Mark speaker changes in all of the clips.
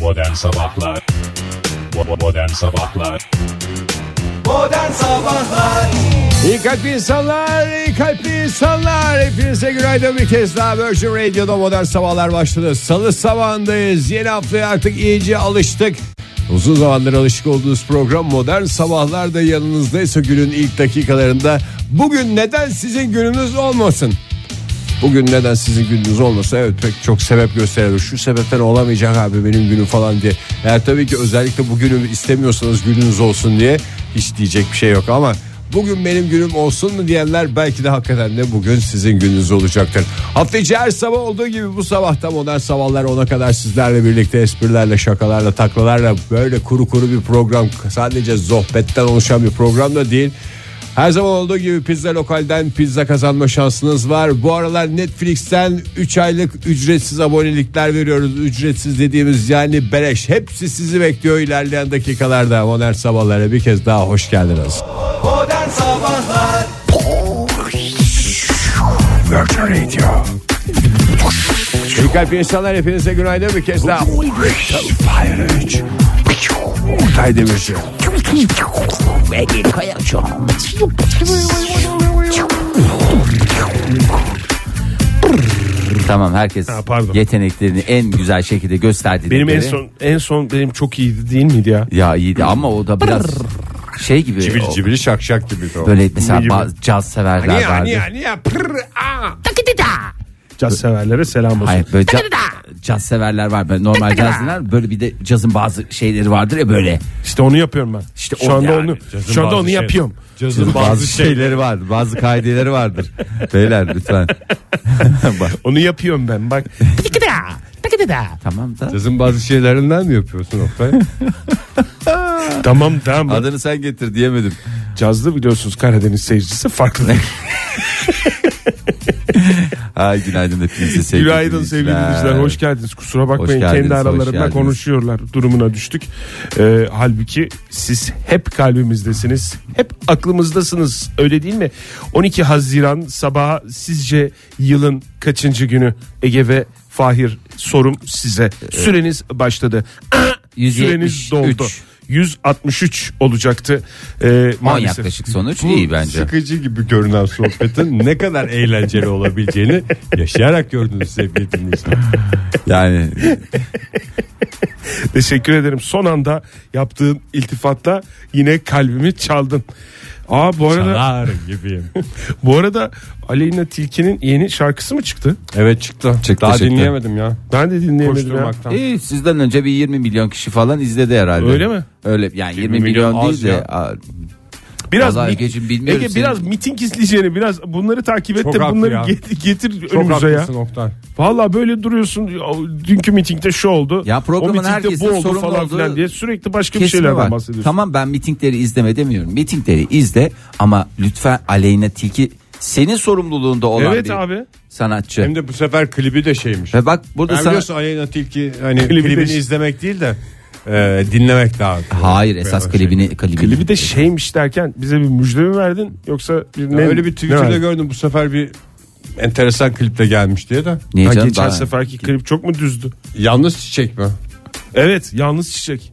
Speaker 1: Modern Sabahlar Bo- Modern Sabahlar
Speaker 2: Modern Sabahlar
Speaker 3: İyi kalpli insanlar, iyi kalpli insanlar. Hepinize günaydın bir kez daha Virgin Radio'da modern sabahlar başladı. Salı sabahındayız. Yeni haftaya artık iyice alıştık. Uzun zamandır alışık olduğunuz program Modern Sabahlar da yanınızdaysa günün ilk dakikalarında bugün neden sizin gününüz olmasın? Bugün neden sizin gününüz olmasa evet pek çok sebep gösterilir. Şu sebepten olamayacak abi benim günüm falan diye. Eğer tabii ki özellikle bugünü istemiyorsanız gününüz olsun diye hiç diyecek bir şey yok ama bugün benim günüm olsun mu diyenler belki de hakikaten de bugün sizin gününüz olacaktır. Hafta içi her sabah olduğu gibi bu sabahta modern sabahlar ona kadar sizlerle birlikte esprilerle şakalarla taklalarla böyle kuru kuru bir program sadece sohbetten oluşan bir program da değil. Her zaman olduğu gibi pizza lokalden pizza kazanma şansınız var. Bu aralar Netflix'ten 3 aylık ücretsiz abonelikler veriyoruz. Ücretsiz dediğimiz yani beleş. Hepsi sizi bekliyor ilerleyen dakikalarda. Modern sabahlara bir kez daha hoş geldiniz.
Speaker 2: Modern Sabahlar
Speaker 3: İyi kalp insanlar hepinize günaydın bir kez daha. Oktay Demirci.
Speaker 4: Tamam herkes
Speaker 5: pardon.
Speaker 4: yeteneklerini en güzel şekilde gösterdi.
Speaker 5: Benim en
Speaker 4: dedikleri.
Speaker 5: son en son benim çok iyiydi değil miydi ya?
Speaker 4: Ya iyiydi ama o da biraz şey gibi.
Speaker 3: Cibili
Speaker 4: o-
Speaker 3: cibili şak şak gibi.
Speaker 4: Böyle mesela
Speaker 5: gibi.
Speaker 4: bazı caz
Speaker 5: Hani,
Speaker 4: severler
Speaker 3: Niye
Speaker 4: vardı.
Speaker 3: niye niye Pırr, aa.
Speaker 5: Caz severlere selam olsun.
Speaker 4: Hayır böyle ca- caz severler var. Böyle normal caz dinler. Böyle bir de cazın bazı şeyleri vardır ya böyle.
Speaker 5: İşte onu yapıyorum ben.
Speaker 4: İşte
Speaker 5: şu
Speaker 4: o
Speaker 5: anda
Speaker 4: yani.
Speaker 5: onu şu anda
Speaker 3: bazı
Speaker 5: onu
Speaker 3: şey-
Speaker 5: yapıyorum.
Speaker 3: Cazın bazı
Speaker 4: şey-
Speaker 3: şey- şeyleri vardır. Bazı kaideleri vardır. Beyler lütfen.
Speaker 5: Onu yapıyorum ben. Bak
Speaker 4: Tamam da.
Speaker 3: Cazın bazı şeylerinden mi yapıyorsun Oktay?
Speaker 5: tamam tamam.
Speaker 4: Adını sen getir diyemedim.
Speaker 5: Cazlı biliyorsunuz Karadeniz seyircisi farklı.
Speaker 4: Ay günaydın hepinize sevgili
Speaker 5: Günaydın sevgili dinleyiciler. Hoş geldiniz. Kusura bakmayın kendi
Speaker 4: geldiniz, Ee, hoş
Speaker 5: aralarında
Speaker 4: geldiniz.
Speaker 5: konuşuyorlar. Durumuna düştük. Ee, halbuki siz hep kalbimizdesiniz. Hep aklımızdasınız. Öyle değil mi? 12 Haziran sabahı sizce yılın kaçıncı günü? Ege ve Fahir sorum size. Süreniz başladı. Süreniz
Speaker 4: 173.
Speaker 5: doldu. 163 olacaktı. Ee,
Speaker 4: 10
Speaker 5: maalesef.
Speaker 4: yaklaşık sonuç iyi bence.
Speaker 3: Sıkıcı gibi görünen sohbetin ne kadar eğlenceli olabileceğini yaşayarak gördünüz sevgili dinleyiciler.
Speaker 4: Yani
Speaker 5: Teşekkür ederim. Son anda yaptığın iltifatla yine kalbimi çaldın. Aa bu arada
Speaker 3: Ağır gibiyim.
Speaker 5: bu arada Aleyna Tilki'nin yeni şarkısı mı çıktı?
Speaker 3: Evet çıktı.
Speaker 4: Çıktı,
Speaker 3: Daha
Speaker 4: çıktı.
Speaker 3: dinleyemedim ya.
Speaker 5: Ben de dinleyemedim ya.
Speaker 3: Koşturmaktan.
Speaker 4: İyi, sizden önce bir 20 milyon kişi falan izledi herhalde.
Speaker 5: Öyle mi?
Speaker 4: Öyle yani 20
Speaker 3: milyon
Speaker 4: milyon,
Speaker 3: az
Speaker 4: değil de
Speaker 3: ya.
Speaker 4: a-
Speaker 5: Biraz
Speaker 4: Vallahi
Speaker 5: mi-
Speaker 4: Ege'cim bilmiyorum
Speaker 5: Ege
Speaker 4: senin-
Speaker 5: biraz miting izleyeceğini biraz bunları takip et
Speaker 3: Çok
Speaker 5: de
Speaker 3: haklı
Speaker 5: bunları
Speaker 3: ya.
Speaker 5: get- getir
Speaker 3: Çok
Speaker 5: önümüze ya.
Speaker 3: haklısın Oktay.
Speaker 5: Valla böyle duruyorsun dünkü mitingde şu oldu.
Speaker 4: Ya programın
Speaker 5: o mitingde
Speaker 4: herkesin
Speaker 5: bu oldu
Speaker 4: sorumlu
Speaker 5: falan filan
Speaker 4: olduğu
Speaker 5: diye sürekli başka bir
Speaker 4: kesimi
Speaker 5: şeylerden
Speaker 4: var.
Speaker 5: bahsediyorsun.
Speaker 4: Tamam ben mitingleri izleme demiyorum. Mitingleri izle ama lütfen Aleyna Tilki senin sorumluluğunda olan
Speaker 5: Evet
Speaker 4: bir
Speaker 5: abi.
Speaker 4: sanatçı.
Speaker 3: Hem de bu sefer klibi de şeymiş.
Speaker 4: Ve bak burada
Speaker 3: Ben
Speaker 4: sana...
Speaker 3: biliyorsun Aleyna Tilki hani
Speaker 5: Klibi
Speaker 3: klibini
Speaker 5: de-
Speaker 3: izlemek değil de e, dinlemek daha.
Speaker 4: Hayır esas
Speaker 3: Böyle şey.
Speaker 4: klibini klibini.
Speaker 5: Klibi de şeymiş derken bize bir müjde mi verdin yoksa bir ne?
Speaker 3: şey. Öyle bir
Speaker 5: ne
Speaker 3: Twitter'da
Speaker 5: verdin?
Speaker 3: gördüm bu sefer bir enteresan kliple gelmiş diye de.
Speaker 4: Niye
Speaker 5: Ha,
Speaker 4: canım?
Speaker 5: geçen
Speaker 4: Daha-
Speaker 5: seferki klip çok mu düzdü?
Speaker 3: Yalnız çiçek mi?
Speaker 5: Evet yalnız çiçek.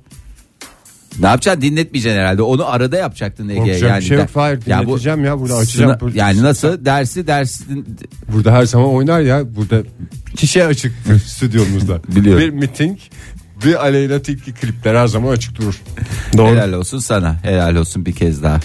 Speaker 4: Ne yapacaksın? Dinletmeyeceksin herhalde. Onu arada yapacaktın Ege.
Speaker 3: Korkacak bir şey
Speaker 4: de-
Speaker 3: yok. Hayır
Speaker 4: Ya bu-
Speaker 3: dinleteceğim ya, burada
Speaker 4: Sınav-
Speaker 3: açacağım. Burada-
Speaker 4: Yani nasıl? Dersi dersin
Speaker 3: Burada her zaman oynar ya. Burada kişiye açık stüdyomuzda.
Speaker 4: Biliyorum.
Speaker 3: Bir miting bir Aleyna Tilki klipler her zaman açık durur.
Speaker 4: Helal olsun sana. Helal olsun bir kez daha.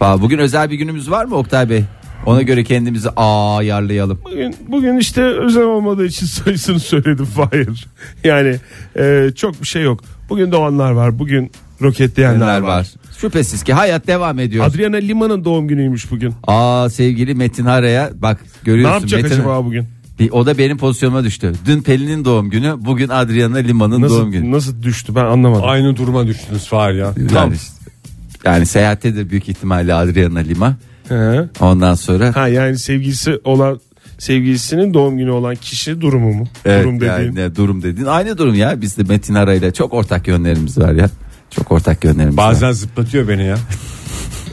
Speaker 4: Valla bugün özel bir günümüz var mı Oktay Bey? Ona göre kendimizi ayarlayalım.
Speaker 5: Bugün, bugün işte özel olmadığı için sayısını söyledim Fahir. Yani e, çok bir şey yok. Bugün doğanlar var. Bugün roketleyenler
Speaker 4: Neler
Speaker 5: var.
Speaker 4: var? Şüphesiz ki hayat devam ediyor.
Speaker 5: Adriana Lima'nın doğum günüymüş bugün.
Speaker 4: Aa sevgili Metin Hara'ya bak
Speaker 5: Ne
Speaker 4: görüyorsun.
Speaker 5: yapacak
Speaker 4: Metin,
Speaker 5: acaba bugün?
Speaker 4: Bir- o da benim pozisyonuma düştü. Dün Pelin'in doğum günü, bugün Adriana Lima'nın
Speaker 5: Nasıl
Speaker 4: doğum günü.
Speaker 5: nasıl düştü ben anlamadım.
Speaker 3: Aynı duruma düştünüz Fahir ya. Tam
Speaker 4: Yani, işte- yani seyahattedir büyük ihtimalle Adriana Lima.
Speaker 5: He.
Speaker 4: Ondan sonra
Speaker 5: Ha yani sevgilisi olan sevgilisinin doğum günü olan kişi durumu mu?
Speaker 4: Evet,
Speaker 5: Durum dediğin.
Speaker 4: yani ne durum dediğin aynı durum ya. Bizde Metin Ara'yla çok ortak yönlerimiz var ya. Çok ortak yönlerimiz var.
Speaker 3: bazen zıplatıyor beni ya.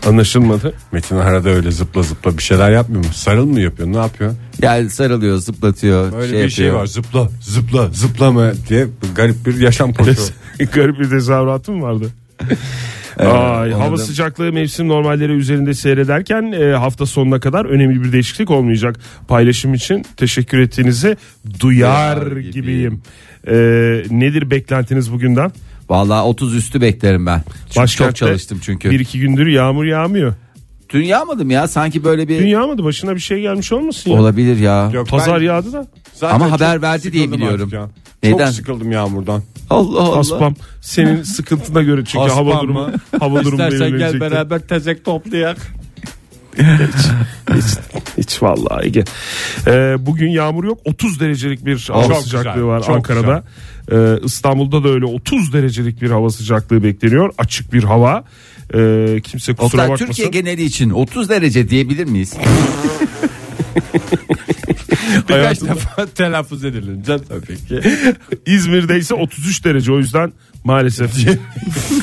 Speaker 5: Anlaşılmadı.
Speaker 3: Metin arada öyle zıpla zıpla bir şeyler yapmıyor mu? Sarıl mı yapıyor? Ne yapıyor?
Speaker 4: Yani sarılıyor, zıplatıyor.
Speaker 3: Öyle
Speaker 4: şey
Speaker 3: bir şey
Speaker 4: yapıyor.
Speaker 3: var. Zıpla, zıpla, zıplama diye garip bir yaşam koşu.
Speaker 5: Garip bir tezahüratım vardı. Ay,
Speaker 4: onu
Speaker 5: hava
Speaker 4: da-
Speaker 5: sıcaklığı mevsim normalleri üzerinde seyrederken e, hafta sonuna kadar önemli bir değişiklik olmayacak. Paylaşım için teşekkür ettiğinizi duyar,
Speaker 4: Duyar
Speaker 5: gibiyim.
Speaker 4: gibiyim.
Speaker 5: E, nedir beklentiniz bugünden?
Speaker 4: Vallahi 30 üstü beklerim ben. Çünkü çok çalıştım çünkü.
Speaker 5: Bir iki gündür yağmur yağmıyor.
Speaker 4: Dün yağmadım ya sanki böyle bir
Speaker 5: Dün yağmadı başına bir şey gelmiş olmasın ya.
Speaker 4: olabilir ya.
Speaker 3: Yok,
Speaker 5: Pazar
Speaker 3: ben
Speaker 5: yağdı da.
Speaker 3: zaten
Speaker 4: Ama
Speaker 3: çok
Speaker 4: haber verdi diye
Speaker 3: sıkıldım
Speaker 4: biliyorum.
Speaker 3: artık ya.
Speaker 4: Neden?
Speaker 3: Çok sıkıldım yağmurdan.
Speaker 4: Allah Allah.
Speaker 5: Aspam senin sıkıntına göre çünkü
Speaker 3: Aspam
Speaker 5: hava
Speaker 3: mı?
Speaker 5: durumu hava durumu belirlenecekti.
Speaker 3: tezek toplayak.
Speaker 5: Hiç vallahi Ege. Ee, bugün yağmur yok. 30 derecelik bir hava
Speaker 3: Çok
Speaker 5: sıcaklığı
Speaker 3: güzel,
Speaker 5: var
Speaker 3: çok
Speaker 5: Ankara'da. Ee, İstanbul'da da öyle 30 derecelik bir hava sıcaklığı bekleniyor. Açık bir hava. Ee, kimse kusura
Speaker 4: Oktay,
Speaker 5: bakmasın.
Speaker 4: Türkiye geneli için 30 derece diyebilir miyiz?
Speaker 3: Birkaç defa telaffuz edilince tabii ki.
Speaker 5: İzmir'de ise 33 derece o yüzden maalesef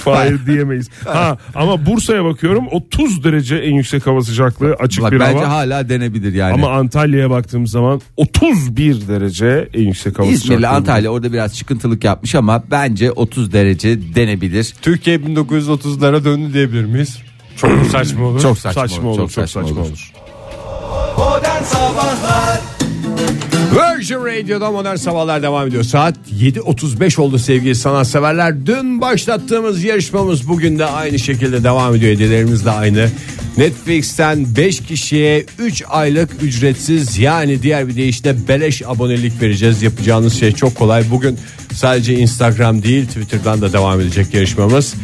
Speaker 5: hayır diyemeyiz. Ha ama Bursa'ya bakıyorum 30 derece en yüksek hava sıcaklığı açık
Speaker 4: Bak
Speaker 5: bir
Speaker 4: bence
Speaker 5: hava.
Speaker 4: hala denebilir yani.
Speaker 5: Ama Antalya'ya baktığım zaman 31 derece en yüksek hava
Speaker 4: İzmir'le
Speaker 5: sıcaklığı.
Speaker 4: Antalya orada biraz çıkıntılık yapmış ama bence 30 derece denebilir.
Speaker 3: Türkiye 1930'lara döndü diyebilir miyiz? Çok mu saçma olur.
Speaker 4: Çok saçma,
Speaker 5: Saçma
Speaker 4: olur.
Speaker 5: olur,
Speaker 4: Çok
Speaker 5: çok
Speaker 4: saçma,
Speaker 5: saçma
Speaker 4: olur.
Speaker 5: olur.
Speaker 2: Modern Sabahlar
Speaker 3: Virgin Radio'da modern sabahlar devam ediyor. Saat 7.35 oldu sevgili sanatseverler. Dün başlattığımız yarışmamız bugün de aynı şekilde devam ediyor. Hediyelerimiz de aynı. Netflix'ten 5 kişiye 3 aylık ücretsiz yani diğer bir deyişle beleş abonelik vereceğiz. Yapacağınız şey çok kolay. Bugün sadece Instagram değil Twitter'dan da devam edecek yarışmamız.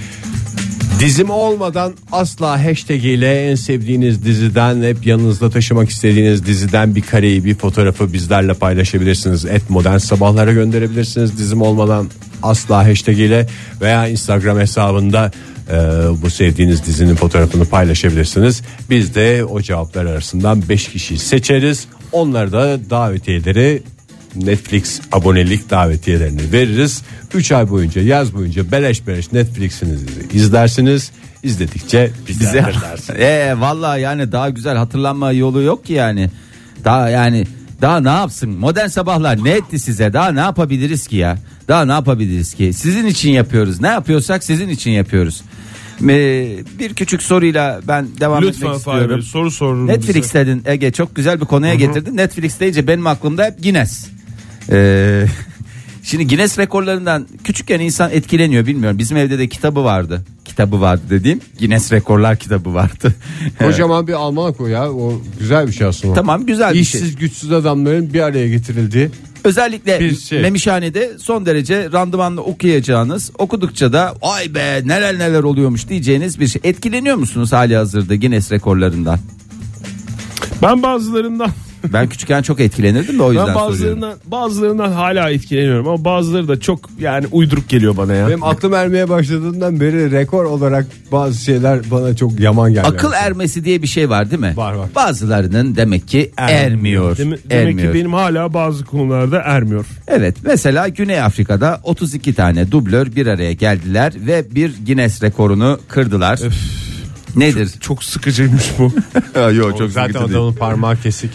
Speaker 3: Dizim olmadan asla hashtag ile en sevdiğiniz diziden hep yanınızda taşımak istediğiniz diziden bir kareyi bir fotoğrafı bizlerle paylaşabilirsiniz. Et modern sabahlara gönderebilirsiniz dizim olmadan asla hashtag ile veya instagram hesabında e, bu sevdiğiniz dizinin fotoğrafını paylaşabilirsiniz. Biz de o cevaplar arasından 5 kişiyi seçeriz. Onlara da davetiyeleri Netflix abonelik davetiyelerini veririz. 3 ay boyunca yaz boyunca beleş beleş Netflix'inizi izlersiniz. İzledikçe bize
Speaker 4: Ee vallahi yani daha güzel hatırlanma yolu yok ki yani. Daha yani daha ne yapsın? Modern sabahlar ne etti size? Daha ne yapabiliriz ki ya? Daha ne yapabiliriz ki? Sizin için yapıyoruz. Ne yapıyorsak sizin için yapıyoruz. Ee, bir küçük soruyla ben devam
Speaker 5: Lütfen
Speaker 4: etmek
Speaker 5: Fahir Bey,
Speaker 4: istiyorum.
Speaker 5: soru sorun bize.
Speaker 4: Netflix dedin Ege çok güzel bir konuya getirdin. Netflix deyince benim aklımda hep Guinness. Ee, şimdi Guinness rekorlarından küçükken insan etkileniyor bilmiyorum. Bizim evde de kitabı vardı. Kitabı vardı dediğim Guinness rekorlar kitabı vardı.
Speaker 3: Kocaman bir almanak o ya. O güzel bir şey aslında.
Speaker 4: tamam güzel bir şey.
Speaker 3: İşsiz güçsüz adamların bir araya getirildiği.
Speaker 4: Özellikle
Speaker 3: Bir şey.
Speaker 4: Memişhane'de son derece randımanla okuyacağınız okudukça da ay be neler neler oluyormuş diyeceğiniz bir şey. Etkileniyor musunuz hali hazırda Guinness rekorlarından?
Speaker 5: Ben bazılarından
Speaker 4: Ben küçükken çok etkilenirdim de o yüzden
Speaker 5: ben
Speaker 4: soruyorum.
Speaker 5: bazılarından bazılarından hala etkileniyorum ama bazıları da çok yani uyduruk geliyor bana ya.
Speaker 3: Benim aklım ermeye başladığından beri rekor olarak bazı şeyler bana çok yaman geldi.
Speaker 4: Akıl ermesi diye bir şey var değil mi?
Speaker 3: Var, var.
Speaker 4: Bazılarının demek ki ermiyor.
Speaker 5: Demi- demek
Speaker 4: ermiyor.
Speaker 5: ki benim hala bazı konularda ermiyor.
Speaker 4: Evet mesela Güney Afrika'da 32 tane dublör bir araya geldiler ve bir Guinness rekorunu kırdılar. Nedir?
Speaker 5: Çok sıkıcıymış bu.
Speaker 4: Yok
Speaker 3: Zaten adamın parmağı kesik.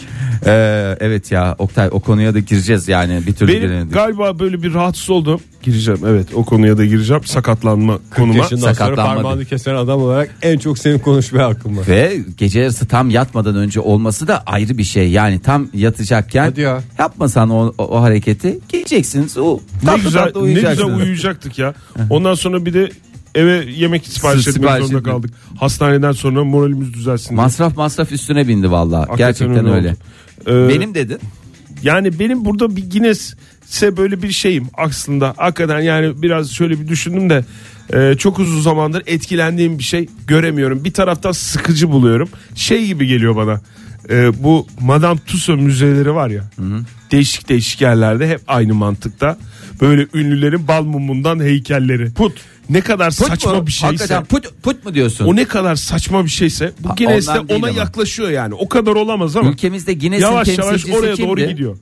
Speaker 4: Ee, evet ya Oktay o konuya da gireceğiz yani bir türlü
Speaker 5: benim
Speaker 4: giremedik.
Speaker 5: galiba böyle bir rahatsız oldum. Gireceğim evet o konuya da gireceğim. Sakatlanma konuma.
Speaker 3: Yaşından sonra
Speaker 4: sakatlanmadı.
Speaker 3: parmağını kesen adam olarak en çok senin konuşmaya hakkım var.
Speaker 4: Ve gece yarısı tam yatmadan önce olması da ayrı bir şey. Yani tam yatacakken
Speaker 3: Hadi ya.
Speaker 4: yapmasan o, o, o hareketi geleceksiniz. O,
Speaker 5: Ne
Speaker 4: tatlı
Speaker 5: güzel,
Speaker 4: tatlı
Speaker 5: ne güzel
Speaker 4: uyuyacaksınız.
Speaker 5: uyuyacaktık ya. Ondan sonra bir de eve yemek sipariş
Speaker 4: Sı-
Speaker 5: etmek
Speaker 4: sipariş
Speaker 5: zorunda
Speaker 4: etmek.
Speaker 5: kaldık. Hastaneden sonra moralimiz düzelsin. diye.
Speaker 4: Masraf masraf üstüne bindi valla.
Speaker 5: Hakikaten
Speaker 4: Gerçekten öyle.
Speaker 5: oldu. Ee,
Speaker 4: Benim dedin.
Speaker 5: Yani benim burada bir Guinness'e böyle bir şeyim aslında. Hakikaten yani biraz şöyle bir düşündüm de e, çok uzun zamandır etkilendiğim bir şey göremiyorum. Bir taraftan sıkıcı buluyorum. Şey gibi geliyor bana. E, bu Madame Tussauds müzeleri var ya. Değişik değişik yerlerde hep aynı mantıkta. Böyle ünlülerin bal mumundan heykelleri. Put. Ne kadar saçma
Speaker 4: mu?
Speaker 5: bir şeyse.
Speaker 4: Hakikaten put, put mu diyorsun?
Speaker 5: O ne kadar saçma bir şeyse bu
Speaker 4: Ha,
Speaker 5: Guinness de
Speaker 4: ondan değil
Speaker 5: ona
Speaker 4: ama.
Speaker 5: yaklaşıyor yani. O kadar olamaz ama
Speaker 4: Ülkemizde Guinness'in
Speaker 5: yavaş yavaş
Speaker 4: temsilcisi
Speaker 5: oraya
Speaker 4: kimdi?
Speaker 5: doğru gidiyor.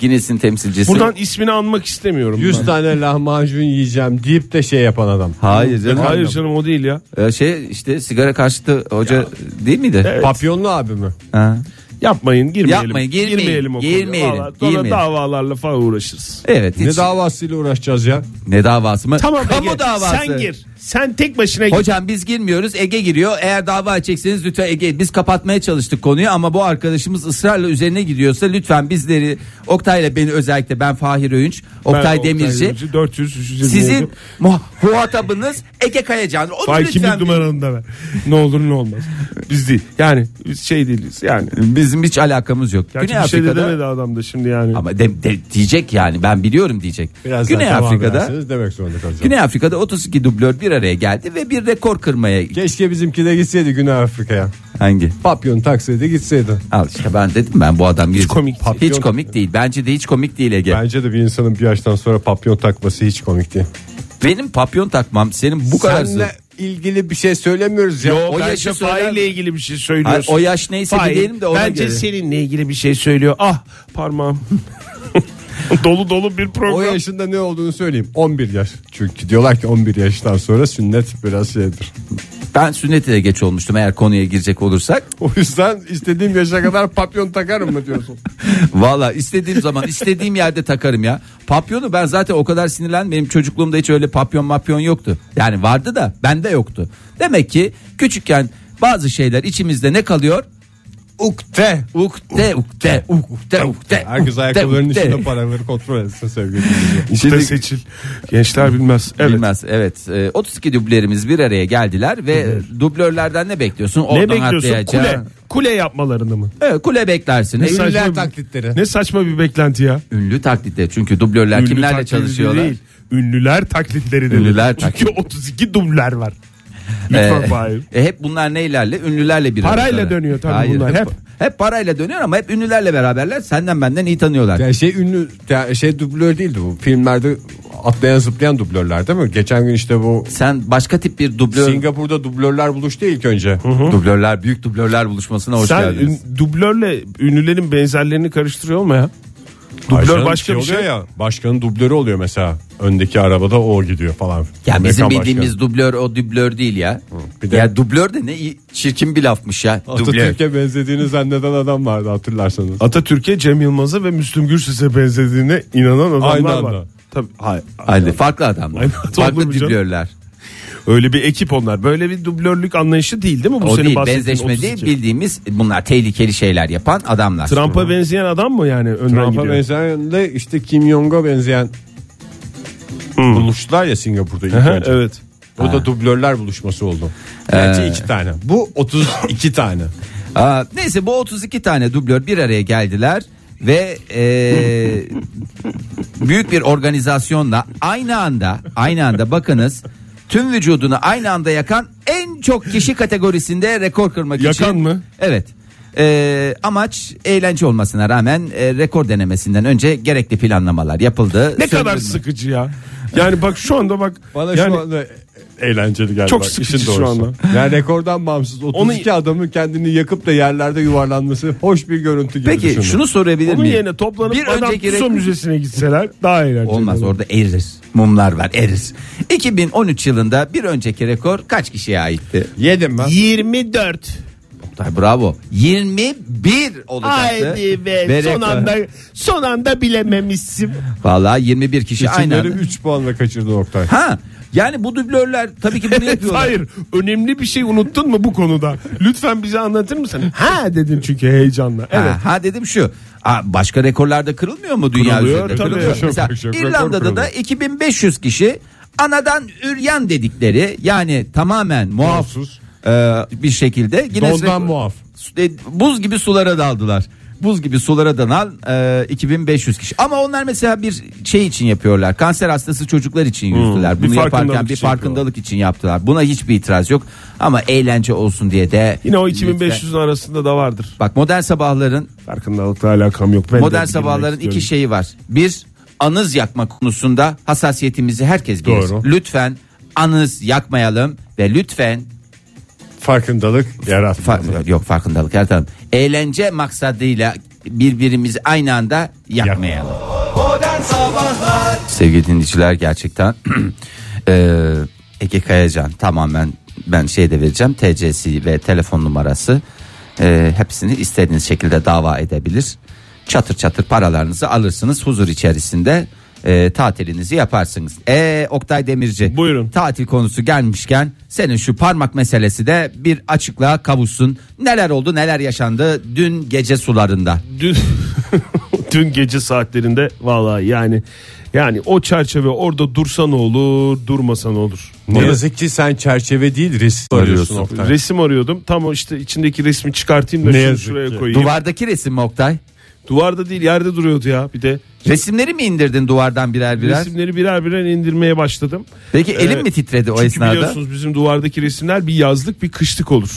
Speaker 4: Guinness'in temsilcisi.
Speaker 5: Buradan ismini anmak istemiyorum.
Speaker 3: 100
Speaker 5: ben.
Speaker 3: tane lahmacun yiyeceğim deyip de şey yapan adam.
Speaker 4: Hayır canım.
Speaker 5: Hayır canım o değil ya.
Speaker 4: Ee, şey işte sigara karşıtı hoca değil miydi?
Speaker 3: Papyonlu abi mi?
Speaker 4: Ha.
Speaker 5: Yapmayın girmeyelim.
Speaker 4: Yapmayın, girmeyin,
Speaker 5: Girmeyelim o konuya.
Speaker 4: girmeyelim,
Speaker 5: Vallahi sonra
Speaker 4: girmeyelim.
Speaker 5: davalarla falan uğraşırız.
Speaker 4: Evet.
Speaker 3: Ne
Speaker 4: hiç-
Speaker 3: davasıyla uğraşacağız ya?
Speaker 4: ne davası mı?
Speaker 5: Tamam
Speaker 4: Kamu
Speaker 5: Ege,
Speaker 4: davası.
Speaker 5: sen gir. Sen tek başına gir.
Speaker 4: Hocam biz girmiyoruz Ege giriyor. Eğer dava açacakseniz lütfen Ege biz kapatmaya çalıştık konuyu ama bu arkadaşımız ısrarla üzerine gidiyorsa lütfen bizleri Oktay'la beni özellikle ben Fahir Öğünç,
Speaker 5: Ben
Speaker 4: Oktay Demirci
Speaker 5: 400 320
Speaker 4: sizin muha- muhatabınız Ege Kayacan. Onu
Speaker 5: Vay
Speaker 4: lütfen
Speaker 5: kimlik numaranı da ver. Ne olur ne olmaz. Biz değil. Yani biz şey değiliz yani.
Speaker 4: bizim hiç alakamız yok.
Speaker 5: Gerçi
Speaker 4: Güney
Speaker 5: bir şey de
Speaker 4: Afrika'da
Speaker 5: demedi adam da şimdi yani.
Speaker 4: ama de- de- diyecek yani ben biliyorum diyecek.
Speaker 3: Birazdan
Speaker 4: Güney
Speaker 3: devam
Speaker 4: Afrika'da
Speaker 3: ederseniz demek zorunda kalacağım.
Speaker 4: Güney Afrika'da 32 dublör bir araya geldi ve bir rekor kırmaya
Speaker 3: Keşke bizimki de gitseydi Güney Afrika'ya.
Speaker 4: hangi?
Speaker 3: Papyon taksaydı gitseydi.
Speaker 4: Al işte ben dedim ben bu adam hiç
Speaker 5: komik değil.
Speaker 4: hiç komik değil. Bence de hiç komik değil Ege.
Speaker 3: Bence de bir insanın bir yaştan sonra papyon takması hiç komik değil.
Speaker 4: Benim papyon takmam senin bu kadar zı-
Speaker 3: Seninle ilgili bir şey söylemiyoruz ya.
Speaker 5: Yo,
Speaker 4: o
Speaker 5: bence
Speaker 4: yaşı
Speaker 5: Fahir'le
Speaker 4: söyler-
Speaker 5: ilgili bir şey
Speaker 4: Hayır,
Speaker 5: söylüyorsun.
Speaker 4: o yaş neyse
Speaker 5: Fahir,
Speaker 4: diyelim de ona
Speaker 5: bence
Speaker 4: göre.
Speaker 5: seninle ilgili bir şey söylüyor. Ah parmağım. dolu dolu bir program.
Speaker 3: O yaşında ne olduğunu söyleyeyim. 11 yaş. Çünkü diyorlar ki 11 yaştan sonra sünnet biraz şeydir.
Speaker 4: Ben sünnete de geç olmuştum eğer konuya girecek olursak.
Speaker 3: O yüzden istediğim yaşa kadar papyon takarım mı diyorsun?
Speaker 4: Valla istediğim zaman istediğim yerde takarım ya. Papyonu ben zaten o kadar sinirlendim. Benim çocukluğumda hiç öyle papyon mapyon yoktu. Yani vardı da bende yoktu. Demek ki küçükken bazı şeyler içimizde ne kalıyor?
Speaker 3: Ukte.
Speaker 4: Ukde ukde ukde ukde.
Speaker 3: Herkes
Speaker 4: ukde,
Speaker 3: ayakkabılarının
Speaker 4: ukde.
Speaker 3: içinde paraları kontrol etsin sevgili
Speaker 5: Ukde seçil. Gençler bilmez. Evet.
Speaker 4: Bilmez evet. Ee, 32 dublörümüz bir araya geldiler ve dublörlerden ne bekliyorsun?
Speaker 5: Ne
Speaker 4: Oradan
Speaker 5: bekliyorsun?
Speaker 4: atlayacağı-
Speaker 5: Kule. Kule yapmalarını mı?
Speaker 4: Evet, kule beklersin. Ünlü,
Speaker 5: saçma
Speaker 3: Ünlüler
Speaker 5: bir-
Speaker 3: taklitleri.
Speaker 5: Ne saçma bir beklenti ya.
Speaker 4: ünlü taklitleri. Çünkü dublörler
Speaker 5: Ünlü
Speaker 4: kimlerle
Speaker 5: taklidi
Speaker 4: çalışıyorlar?
Speaker 5: Değil, ünlüler taklitleri dedi.
Speaker 4: Ünlüler
Speaker 5: Çünkü
Speaker 4: taklidi.
Speaker 5: 32 dubler var. Lütfen
Speaker 4: Ee,
Speaker 5: Fahir.
Speaker 4: e, hep bunlar neylerle? Ünlülerle bir arada.
Speaker 5: Parayla dönüyor tabii bunlar,
Speaker 4: Hep,
Speaker 5: hep.
Speaker 4: hep parayla dönüyor ama hep ünlülerle beraberler. Senden benden iyi tanıyorlar.
Speaker 3: Yani şey ünlü ya şey dublör değildi bu. Filmlerde atlayan zıplayan dublörler değil mi? Geçen gün işte bu
Speaker 4: Sen başka tip bir dublör.
Speaker 3: Singapur'da dublörler buluştu ilk önce.
Speaker 4: Dublörler büyük dublörler buluşmasına hoş
Speaker 5: Sen
Speaker 4: geldiniz.
Speaker 5: ün- dublörle ünlülerin benzerlerini karıştırıyor mu ya? Dublör
Speaker 3: Başkanın
Speaker 5: başka bir
Speaker 3: oluyor
Speaker 5: şey.
Speaker 3: ya. Başkanın dublörü oluyor mesela. Öndeki arabada o gidiyor falan.
Speaker 4: Ya bizim
Speaker 3: Amerikan
Speaker 4: bildiğimiz
Speaker 3: başkanı.
Speaker 4: dublör o dublör değil ya.
Speaker 3: bir de-
Speaker 4: ya dublör de ne iyi- çirkin bir lafmış ya. Dublör.
Speaker 3: Atatürk'e benzediğini zanneden adam vardı hatırlarsanız.
Speaker 5: Atatürk'e Cem Yılmaz'a ve Müslüm Gürses'e benzediğine inanan adamlar
Speaker 3: Aynı anda.
Speaker 5: var. Tabii, hayır.
Speaker 4: Hadi farklı adamlar.
Speaker 5: Aynen,
Speaker 4: farklı
Speaker 5: olur mu canım?
Speaker 4: dublörler.
Speaker 5: Öyle bir ekip onlar. Böyle bir dublörlük anlayışı değil değil mi? Bu
Speaker 4: O
Speaker 5: senin
Speaker 4: değil
Speaker 5: bahsettiğin
Speaker 4: benzeşme
Speaker 5: 32.
Speaker 4: değil bildiğimiz bunlar tehlikeli şeyler yapan adamlar.
Speaker 5: Trump'a benzeyen adam mı yani önden
Speaker 3: Trump'a
Speaker 5: gidiyor?
Speaker 3: benzeyen de işte Kim Jong'a benzeyen buluştular ya Singapur'da ilk
Speaker 5: Hmm. Aha,
Speaker 3: önce.
Speaker 5: evet. Ee.
Speaker 3: O da dublörler buluşması oldu. Gerçi iki tane. Bu 32 tane.
Speaker 4: Aa, neyse bu 32 tane dublör bir araya geldiler ve eee, büyük bir organizasyonla aynı anda aynı anda bakınız tüm vücudunu aynı anda yakan en çok kişi kategorisinde rekor kırmak için.
Speaker 5: Yakan mı?
Speaker 4: Evet. Eee, amaç eğlence olmasına rağmen eee, rekor denemesinden önce gerekli planlamalar yapıldı.
Speaker 5: Ne
Speaker 4: Söndürme.
Speaker 5: kadar sıkıcı ya. Yani bak şu anda bak.
Speaker 3: Bana
Speaker 5: yani,
Speaker 3: şu anda eğlenceli geldi.
Speaker 5: Çok
Speaker 3: bak,
Speaker 5: sıkıcı
Speaker 3: işin
Speaker 5: şu
Speaker 3: doğrusu.
Speaker 5: anda.
Speaker 3: Yani rekordan bağımsız 32 adamın kendini yakıp da yerlerde yuvarlanması hoş bir görüntü gibi
Speaker 4: Peki
Speaker 3: düşündüm.
Speaker 4: şunu sorabilir
Speaker 5: Onun
Speaker 4: miyim?
Speaker 5: yerine toplanıp
Speaker 4: Bir
Speaker 5: adam
Speaker 4: önceki
Speaker 5: Tuso
Speaker 4: rekor-
Speaker 5: Müzesi'ne gitseler daha eğlenceli.
Speaker 4: Olmaz
Speaker 5: olur.
Speaker 4: orada erir. Mumlar var erir. 2013 yılında bir önceki rekor kaç kişiye aitti?
Speaker 3: Yedim ben.
Speaker 5: 24.
Speaker 4: Oktay, bravo. 21 olacaktı. Ve rekor-
Speaker 5: son anda bilememişsin.
Speaker 4: Vallahi 21 kişi aynı
Speaker 3: İçimleri
Speaker 4: anda.
Speaker 3: 3 puanla kaçırdı Oktay.
Speaker 4: Ha yani bu dublörler tabii ki bunu yapıyorlar.
Speaker 5: Hayır, önemli bir şey unuttun mu bu konuda? Lütfen bize anlatır mısın? Ha dedim çünkü heyecanla.
Speaker 4: Ha,
Speaker 5: Evet.
Speaker 4: ha dedim şu. Aa, başka rekorlarda kırılmıyor mu dünya
Speaker 5: Kırılıyor,
Speaker 4: üzerinde?
Speaker 5: tabii.
Speaker 4: Kırılıyor.
Speaker 5: Çok,
Speaker 4: Mesela
Speaker 3: çok, çok rekor
Speaker 4: İrlanda'da da
Speaker 3: kırılıyor.
Speaker 4: 2500 kişi anadan üryan dedikleri yani tamamen muaf
Speaker 3: Muafsuz.
Speaker 4: e, bir şekilde Guinness
Speaker 3: Dondan
Speaker 4: rekor-
Speaker 3: muaf.
Speaker 4: Su- e, buz gibi sulara daldılar. Buz gibi sulara dalan e, 2500 kişi. Ama onlar mesela bir şey için yapıyorlar. Kanser hastası çocuklar için yüzdüler.
Speaker 5: Hmm, bir
Speaker 4: Bunu yaparken
Speaker 5: farkındalık
Speaker 4: bir
Speaker 5: için
Speaker 4: farkındalık için yaptılar. Buna hiçbir itiraz yok. Ama eğlence olsun diye de
Speaker 5: Yine o
Speaker 4: Lütfen.
Speaker 5: 2500'ün arasında da vardır.
Speaker 4: Bak modern sabahların
Speaker 5: Farkındalıkla alakam yok. Ben de
Speaker 4: modern
Speaker 5: girmek
Speaker 4: sabahların iki
Speaker 5: istiyorum.
Speaker 4: şeyi var. Bir anız yakma konusunda hassasiyetimizi herkes bilir.
Speaker 3: Doğru.
Speaker 4: Lütfen anız yakmayalım ve lütfen
Speaker 3: Farkındalık yaratmadı.
Speaker 4: Fa- yok farkındalık yaratalım. Eğlence maksadıyla birbirimizi aynı anda yakmayalım.
Speaker 2: Modern Sabahlar
Speaker 4: Sevgili dinleyiciler gerçekten eee, Ege Kayacan tamamen ben şey de vereceğim TC'si ve telefon numarası eee, hepsini istediğiniz şekilde dava edebilir. Çatır çatır paralarınızı alırsınız huzur içerisinde eee, tatilinizi yaparsınız. E Oktay Demirci.
Speaker 5: Buyurun.
Speaker 4: Tatil konusu gelmişken senin şu parmak meselesi de bir açıklığa kavuşsun. Neler oldu neler yaşandı dün gece sularında.
Speaker 5: Dün, dün gece saatlerinde vallahi yani yani o çerçeve orada dursa ne olur, durmasa ne olur.
Speaker 3: Ne yazık ki sen çerçeve değil resim arıyorsun Oktay.
Speaker 5: Resim arıyordum. Tam o işte içindeki resmi çıkartayım da
Speaker 3: Ne
Speaker 5: şunu
Speaker 3: yazık
Speaker 5: şuraya
Speaker 3: ki.
Speaker 5: koyayım.
Speaker 4: Duvardaki resim mi Oktay?
Speaker 5: Duvarda değil yerde duruyordu ya bir de.
Speaker 4: Resimleri mi indirdin duvardan birer birer?
Speaker 5: Resimleri birer birer indirmeye başladım.
Speaker 4: Peki elin
Speaker 5: Ee,
Speaker 4: mi titredi o
Speaker 5: Çünkü
Speaker 4: esnada?
Speaker 5: biliyorsunuz bizim duvardaki resimler bir yazlık bir kışlık olur.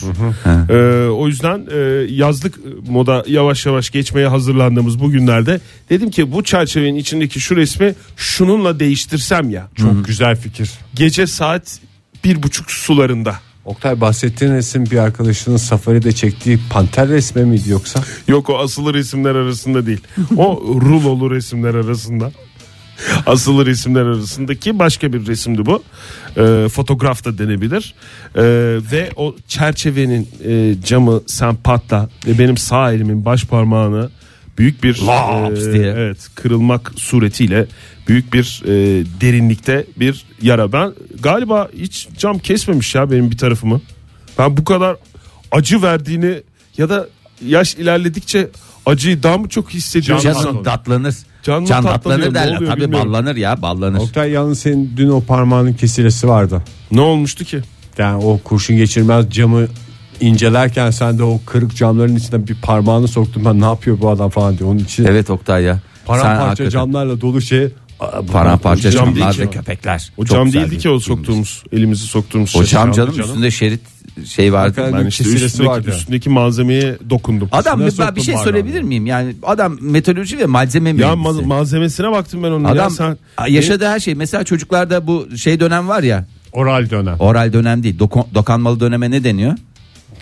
Speaker 5: Ee, o yüzden e, yazlık moda yavaş yavaş geçmeye hazırlandığımız bu günlerde dedim ki bu çerçevenin içindeki şu resmi şununla değiştirsem ya.
Speaker 3: Çok güzel fikir.
Speaker 5: Gece saat bir buçuk sularında.
Speaker 3: Oktay bahsettiğin resim bir arkadaşının safaride çektiği panter resmi miydi yoksa?
Speaker 5: Yok o asılı resimler arasında değil. O rulolu resimler arasında. Asılı resimler arasındaki başka bir resimdi bu. Ee, fotoğraf da denebilir. Ee, ve o çerçevenin e, camı sen patla ve benim sağ elimin baş parmağını büyük bir e,
Speaker 4: Laps diye.
Speaker 5: evet kırılmak suretiyle büyük bir e, derinlikte bir yara. Ben galiba hiç cam kesmemiş ya benim bir tarafımı. Ben bu kadar acı verdiğini ya da yaş ilerledikçe acıyı daha mı çok hissediyorum?
Speaker 4: Canım tatlanır.
Speaker 5: Can mı
Speaker 4: Can
Speaker 5: tatlanıyor,
Speaker 4: tatlanır
Speaker 5: ne
Speaker 4: derler.
Speaker 5: oluyor
Speaker 4: Tabii
Speaker 5: bilmiyorum.
Speaker 4: ballanır ya ballanır.
Speaker 3: Oktay yalnız senin dün o parmağının kesilesi vardı.
Speaker 5: Ne olmuştu ki?
Speaker 3: Yani o kurşun geçirmez camı incelerken sen de o kırık camların içine bir parmağını soktun ben ne yapıyor bu adam falan diye. Onun için
Speaker 4: Evet Oktay ya.
Speaker 3: paramparça
Speaker 4: hakikaten-
Speaker 3: camlarla dolu şey. Aa, bu-
Speaker 4: Paramparça
Speaker 5: O cam
Speaker 4: camlar
Speaker 5: değil
Speaker 4: ve
Speaker 5: ki o.
Speaker 4: köpekler.
Speaker 5: O
Speaker 4: Çok
Speaker 5: cam
Speaker 4: güzel
Speaker 5: değildi
Speaker 4: bir
Speaker 5: ki o
Speaker 4: filmmiş.
Speaker 5: soktuğumuz elimizi soktuğumuz.
Speaker 4: O
Speaker 5: şey.
Speaker 4: cam canım üstünde şerit şey vardı.
Speaker 3: Hakikaten-
Speaker 5: Ben işte
Speaker 3: kesilesi
Speaker 5: üstündeki,
Speaker 3: vardı.
Speaker 5: üstündeki malzemeye dokundum.
Speaker 4: Adam
Speaker 3: Üstüne
Speaker 4: bir- ben bir
Speaker 3: soktum
Speaker 4: şey
Speaker 3: bardağını.
Speaker 4: söyleyebilir miyim? Yani adam meteoroloji ve malzeme
Speaker 5: ya
Speaker 4: mühendisi.
Speaker 5: ma- malzemesine baktım ben onun.
Speaker 4: Adam
Speaker 5: ya sen,
Speaker 4: yaşadığı her şey. Mesela çocuklarda bu şey dönem var ya.
Speaker 3: Oral dönem.
Speaker 4: Oral dönem değil. doku- dokanmalı döneme ne deniyor?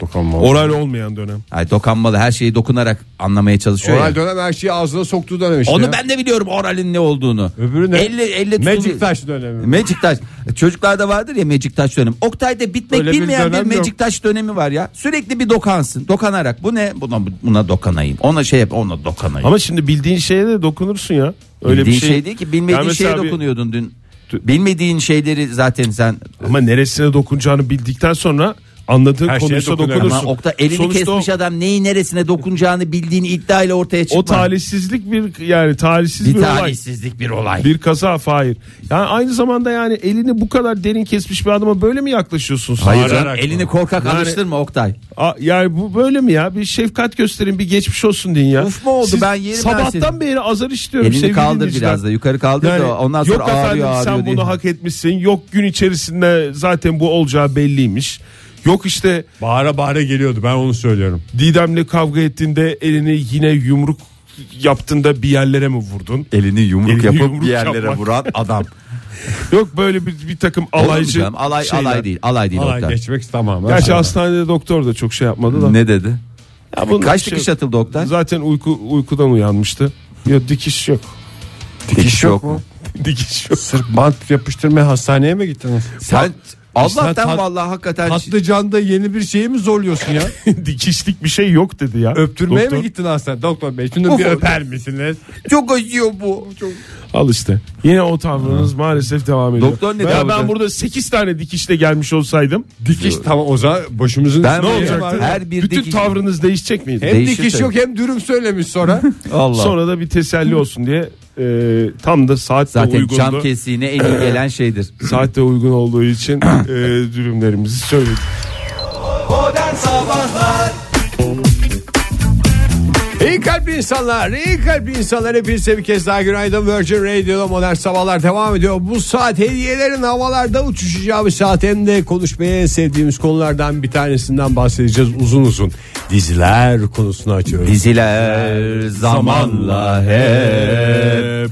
Speaker 3: Dokunma. Oral,
Speaker 5: oral olmayan dönem.
Speaker 4: Ay, dokanmalı her şeyi dokunarak anlamaya çalışıyor ya.
Speaker 3: dönem her şeyi ağzına soktuğu dönem işte.
Speaker 4: Onu
Speaker 3: ya.
Speaker 4: ben de biliyorum oralin ne olduğunu.
Speaker 3: Öbürü ne?
Speaker 4: Elle, elle tutuluyor.
Speaker 3: Magic Taş dönemi.
Speaker 4: Magic taş. Çocuklarda vardır ya Magic taş dönemi. Oktay'da bitmek
Speaker 5: Öyle bir
Speaker 4: bilmeyen bir,
Speaker 5: dönem
Speaker 4: Magic
Speaker 5: yok.
Speaker 4: taş dönemi var ya. Sürekli bir dokansın. Dokanarak. Bu ne? Buna, buna dokanayım. Ona şey yap. Ona dokanayım.
Speaker 5: Ama şimdi bildiğin şeye de dokunursun ya. Öyle
Speaker 4: Bildiğin
Speaker 5: bir şey.
Speaker 4: şey değil ki. Bilmediğin
Speaker 5: Yani mesela
Speaker 4: şeye
Speaker 5: bir-
Speaker 4: dokunuyordun dün. Bilmediğin şeyleri zaten sen
Speaker 5: Ama neresine dokunacağını bildikten sonra anladığın
Speaker 3: Her şeye
Speaker 5: konuysa
Speaker 3: dokunuyor.
Speaker 5: dokunursun.
Speaker 4: ama Oktay elini
Speaker 5: Sonuçta
Speaker 4: kesmiş adam neyi neresine dokunacağını bildiğini iddiayla ortaya
Speaker 5: o, o
Speaker 4: çıkmaz.
Speaker 5: talihsizlik bir yani talihsiz bir,
Speaker 4: bir
Speaker 5: olay.
Speaker 4: talihsizlik bir olay.
Speaker 5: Bir kaza hayır. Yani aynı zamanda yani elini bu kadar derin kesmiş bir adama böyle mi yaklaşıyorsun? sen?
Speaker 4: Hayır
Speaker 5: Yani-
Speaker 4: canım, elini korkak
Speaker 5: Yani-
Speaker 4: alıştırma Oktay.
Speaker 5: A- Yani bu böyle mi ya? Bir şefkat gösterin, bir geçmiş olsun deyin ya.
Speaker 4: Uf mu oldu? Ben yerim ben
Speaker 5: Sabahtan
Speaker 4: senin.
Speaker 5: beri azar işliyorum
Speaker 4: Elini
Speaker 5: sevgili
Speaker 4: kaldır
Speaker 5: dinleyiciler.
Speaker 4: biraz da yukarı kaldır
Speaker 5: Yani
Speaker 4: da ondan sonra
Speaker 5: yok efendim
Speaker 4: ağrıyor ağrıyor
Speaker 5: sen bunu
Speaker 4: diye.
Speaker 5: hak etmişsin. Yok gün içerisinde zaten bu olacağı belliymiş. Yok işte
Speaker 3: Bağıra bağıra geliyordu ben onu söylüyorum.
Speaker 5: Didem'le kavga ettiğinde elini yine yumruk yaptığında bir yerlere mi vurdun?
Speaker 4: Elini yumruk
Speaker 5: Elini
Speaker 4: yapıp
Speaker 5: yumruk
Speaker 4: bir yerlere
Speaker 5: yapmak.
Speaker 4: vuran adam.
Speaker 5: Yok böyle bir, bir takım alaycı
Speaker 4: Olmayacağım. alay
Speaker 5: şey- şeyler.
Speaker 4: alay değil. Alay değil
Speaker 3: Alay
Speaker 4: Oktay.
Speaker 3: geçmek tamamen.
Speaker 5: Gerçi
Speaker 3: sana.
Speaker 5: hastanede doktor da çok şey yapmadı da.
Speaker 4: Ne dedi?
Speaker 5: Ya bunun
Speaker 4: Kaç
Speaker 5: şey-
Speaker 4: dikiş atıldı Oktay?
Speaker 5: Zaten uyku uykudan uyanmıştı. Yok dikiş yok.
Speaker 4: Dikiş
Speaker 5: şey
Speaker 4: yok mu?
Speaker 5: dikiş yok.
Speaker 3: Sırf bant yapıştırmaya hastaneye mi gittiniz?
Speaker 4: Sen
Speaker 3: Sen
Speaker 4: Allah'tan
Speaker 3: tat-
Speaker 4: vallahi hakikaten
Speaker 3: Patlıcanda yeni bir şeyi mi zorluyorsun ya?
Speaker 5: Dikişlik bir şey yok dedi ya.
Speaker 3: Öptürmeye
Speaker 5: Doktor.
Speaker 3: mi gittin hastane? Doktor bey şunu bir öper misiniz?
Speaker 4: şey- çok acıyor bu.
Speaker 5: Al işte. Yine o tavrınız maalesef devam ediyor.
Speaker 4: Doktor ne
Speaker 5: ben,
Speaker 4: tavrı?
Speaker 5: ben burada 8 tane dikişle gelmiş olsaydım
Speaker 3: Dikiş tamam o zaman başımızın
Speaker 4: Ben
Speaker 3: üstüne
Speaker 4: mi?
Speaker 3: olacak?
Speaker 5: olacaktı?
Speaker 4: Her bir
Speaker 5: bütün
Speaker 4: dikiş-
Speaker 5: tavrınız değişecek miydi?
Speaker 3: Hem
Speaker 4: Değişir
Speaker 3: dikiş
Speaker 4: tabii.
Speaker 3: yok hem dürüm söylemiş sonra.
Speaker 4: Allah.
Speaker 5: Sonra da bir teselli olsun diye e, tam da saatte
Speaker 4: Zaten
Speaker 5: uygundu.
Speaker 4: cam kesiğine en iyi gelen şeydir.
Speaker 5: Saatte uygun olduğu için e, dürümlerimizi söyledik.
Speaker 2: Modern Sabahlar
Speaker 3: iyi kalp insanlar, iyi kalp insanlar hepinize bir kez daha günaydın. Virgin Radio'da modern sabahlar devam ediyor. Bu saat hediyelerin havalarda uçuşacağı bir saat hem de konuşmaya en sevdiğimiz konulardan bir tanesinden bahsedeceğiz uzun uzun. Diziler konusunu açıyoruz.
Speaker 4: Diziler zamanla hep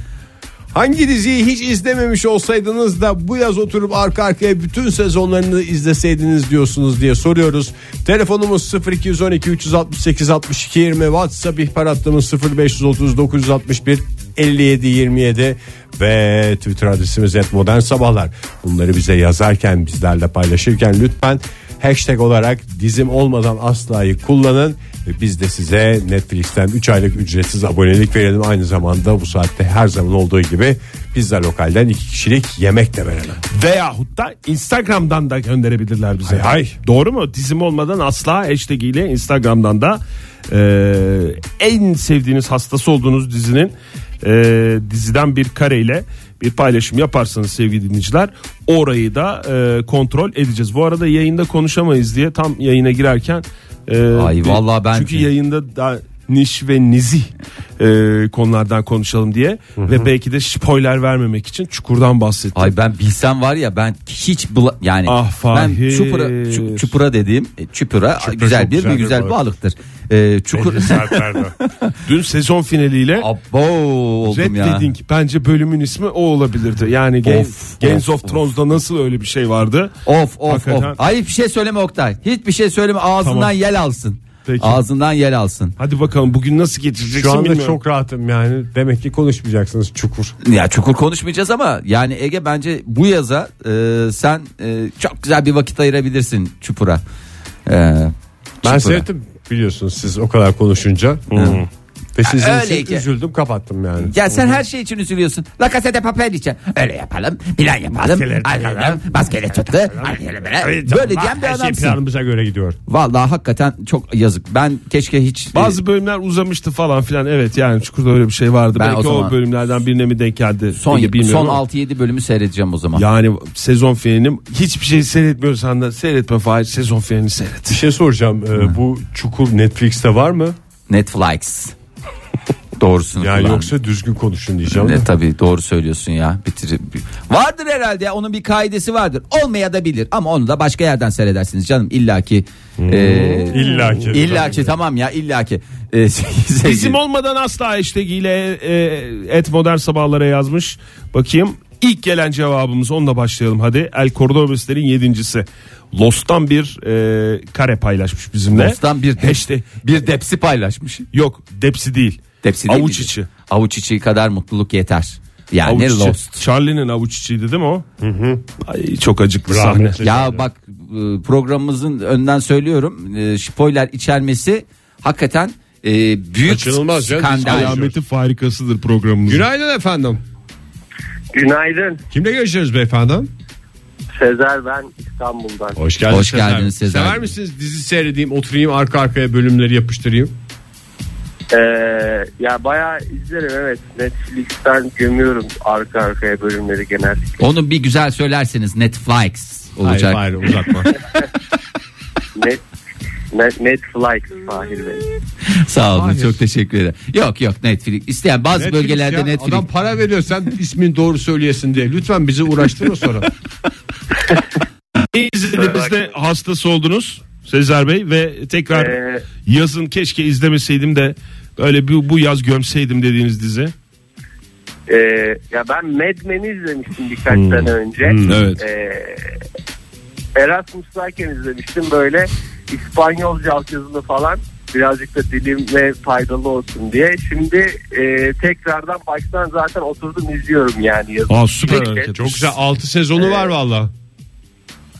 Speaker 3: Hangi diziyi hiç izlememiş olsaydınız da bu yaz oturup arka arkaya bütün sezonlarını izleseydiniz diyorsunuz diye soruyoruz. Telefonumuz 0212 368 62 20 WhatsApp ihbar hattımız 0530 961 57 27 ve Twitter adresimiz et modern sabahlar. Bunları bize yazarken bizlerle paylaşırken lütfen hashtag olarak dizim olmadan aslayı kullanın. Ve Biz de size Netflix'ten 3 aylık ücretsiz abonelik verelim. Aynı zamanda bu saatte her zaman olduğu gibi pizza lokalden 2 kişilik yemek de verelim.
Speaker 5: Veyahut da Instagram'dan da gönderebilirler bize.
Speaker 3: Hay hay.
Speaker 5: Doğru mu? Dizim olmadan asla hashtag ile Instagram'dan da e, en sevdiğiniz hastası olduğunuz dizinin e, diziden bir kareyle bir paylaşım yaparsanız sevgili dinleyiciler orayı da e, kontrol edeceğiz. Bu arada yayında konuşamayız diye tam yayına girerken e,
Speaker 4: Ay,
Speaker 5: de-
Speaker 4: vallahi ben-
Speaker 5: çünkü yayında da niş ve nizi e, konulardan konuşalım diye ve belki de spoiler vermemek için çukurdan bahsettim.
Speaker 4: Ay ben bilsem var ya ben hiç bula- yani
Speaker 5: Ah,
Speaker 4: ben
Speaker 5: Fahir.
Speaker 4: çupura çu- çupura dediğim e, çupura
Speaker 5: Çupra
Speaker 4: güzel
Speaker 5: çok
Speaker 4: bir güzel,
Speaker 5: güzel bir
Speaker 4: güzel
Speaker 5: balık.
Speaker 4: balıktır. Ee, çukur
Speaker 5: Dün sezon finaliyle
Speaker 4: Abo oldum
Speaker 5: Red
Speaker 4: ya.
Speaker 5: Wedding bence bölümün ismi o olabilirdi. Yani Game,
Speaker 4: Of,
Speaker 5: Games
Speaker 4: of,
Speaker 5: of, Thrones'da nasıl öyle bir şey vardı?
Speaker 4: Of of
Speaker 5: Hakikaten.
Speaker 4: of. Ay hiçbir şey söyleme Oktay. Hiçbir şey söyleme ağzından
Speaker 5: Tamam.
Speaker 4: yel alsın.
Speaker 5: Peki.
Speaker 4: Ağzından yel alsın.
Speaker 5: Hadi bakalım bugün nasıl geçireceksin
Speaker 3: Şu anda
Speaker 5: bilmiyorum.
Speaker 3: çok rahatım yani. Demek ki konuşmayacaksınız çukur.
Speaker 4: Ya çukur konuşmayacağız ama yani Ege bence bu yaza e, sen e, çok güzel bir vakit ayırabilirsin çupura. Ee,
Speaker 3: Ben
Speaker 4: çupura.
Speaker 3: sevdim biliyorsunuz siz o kadar konuşunca. Ve sizin
Speaker 4: Ya
Speaker 3: için
Speaker 4: öyle ki.
Speaker 3: üzüldüm kapattım yani.
Speaker 4: Ya sen her şey için üzülüyorsun. La Casa de Papel için. Öyle yapalım. Plan yapalım. Ayıralım. Maskeyle tuttu. ayıralım, Böyle diyen
Speaker 5: şey
Speaker 4: bir adamsın.
Speaker 3: planımıza göre gidiyor.
Speaker 4: Vallahi hakikaten çok yazık. Ben keşke hiç... e,
Speaker 5: Bazı bölümler uzamıştı falan filan. Evet yani Çukur'da öyle bir şey vardı.
Speaker 4: Ben
Speaker 5: Belki
Speaker 4: o
Speaker 5: o,
Speaker 4: zaman-
Speaker 5: bölümlerden birine mi denk geldi?
Speaker 4: son,
Speaker 5: Ege bilmiyorum
Speaker 4: son
Speaker 5: ama.
Speaker 4: 6-7 bölümü seyredeceğim o zaman.
Speaker 5: Yani sezon finalini hiçbir şey seyretmiyorsan da seyretme Fahir sezon finalini seyret.
Speaker 3: Bir şey soracağım. Ee, bu çukur Netflix'te var mı?
Speaker 4: Netflix. Doğrusunu
Speaker 3: Yani
Speaker 4: kullan.
Speaker 5: şey
Speaker 3: yoksa düzgün konuşun diyeceğim.
Speaker 4: Ne tabii doğru söylüyorsun ya. Bitir. Vardır herhalde ya, onun bir kaidesi vardır. Olmaya da bilir ama onu da başka yerden seyredersiniz canım illaki.
Speaker 5: Hmm.
Speaker 4: Ee,
Speaker 3: İlla ki.
Speaker 4: illaki tamam ya illaki. Ee, sevgili-
Speaker 5: Bizim olmadan asla hashtag ile e, et modern sabahlara yazmış. Bakayım ilk gelen cevabımız onunla başlayalım hadi. El Cordobes'lerin yedincisi. Lost'tan bir e, kare paylaşmış bizimle.
Speaker 4: Dosttan bir de-
Speaker 5: Hashtag-
Speaker 4: bir depsi paylaşmış.
Speaker 5: Yok depsi değil.
Speaker 4: Depsi değil
Speaker 5: avuç
Speaker 4: miydi?
Speaker 5: içi.
Speaker 4: Avuç içi kadar mutluluk yeter. Yani
Speaker 5: Avuç içi.
Speaker 4: Lost.
Speaker 5: Charlie'nin avuç içiydi değil mi o? Ay, çok acıklı sahne.
Speaker 3: Rahmetli.
Speaker 4: Ya bak e, programımızın önden söylüyorum. e, Spoiler içermesi hakikaten e, büyük
Speaker 3: Kaçınılmaz canım.
Speaker 4: skandal.
Speaker 5: Alameti farikasıdır programımız.
Speaker 3: Günaydın efendim.
Speaker 6: Günaydın.
Speaker 3: Kimle görüşüyoruz beyefendi?
Speaker 6: Sezer ben İstanbul'dan.
Speaker 3: Hoş geldiniz.
Speaker 4: Hoş geldiniz Sezer Bey.
Speaker 3: Sever misiniz dizi seyredeyim, oturayım arka arkaya bölümleri yapıştırayım?
Speaker 6: Ee, ya bayağı izlerim evet. Netflix'ten gömüyorum arka arkaya bölümleri genellikle.
Speaker 4: Onu bir güzel söylerseniz Netflix olacak.
Speaker 3: Hayır hayır uzatma.
Speaker 6: Net, net, Netflix Fahir Bey.
Speaker 4: Sağ olun
Speaker 3: Hayır.
Speaker 4: çok teşekkür ederim. Yok yok Netflix. İsteyen bazı
Speaker 3: Netflix
Speaker 4: bölgelerde
Speaker 3: ya,
Speaker 4: Netflix.
Speaker 3: Adam para veriyor sen ismin doğru söyleyesin diye. Lütfen bizi uğraştırma sonra.
Speaker 5: Ne izlediniz de hastası oldunuz Sezer Bey ve tekrar
Speaker 6: Ee,
Speaker 5: yazın keşke izlemeseydim de böyle bu, bu yaz gömseydim dediğiniz dizi.
Speaker 6: Ee, ya ben Mad Men'i izlemiştim birkaç sene önce.
Speaker 5: evet.
Speaker 6: Ee, Erasmus'tayken izlemiştim böyle İspanyolca altyazılı falan birazcık da dilime faydalı olsun diye. Şimdi e, tekrardan baştan zaten oturdum izliyorum yani yazı.
Speaker 5: Aa süper
Speaker 6: Peki. Ee,
Speaker 5: hareket.
Speaker 3: Çok güzel 6 sezonu var valla.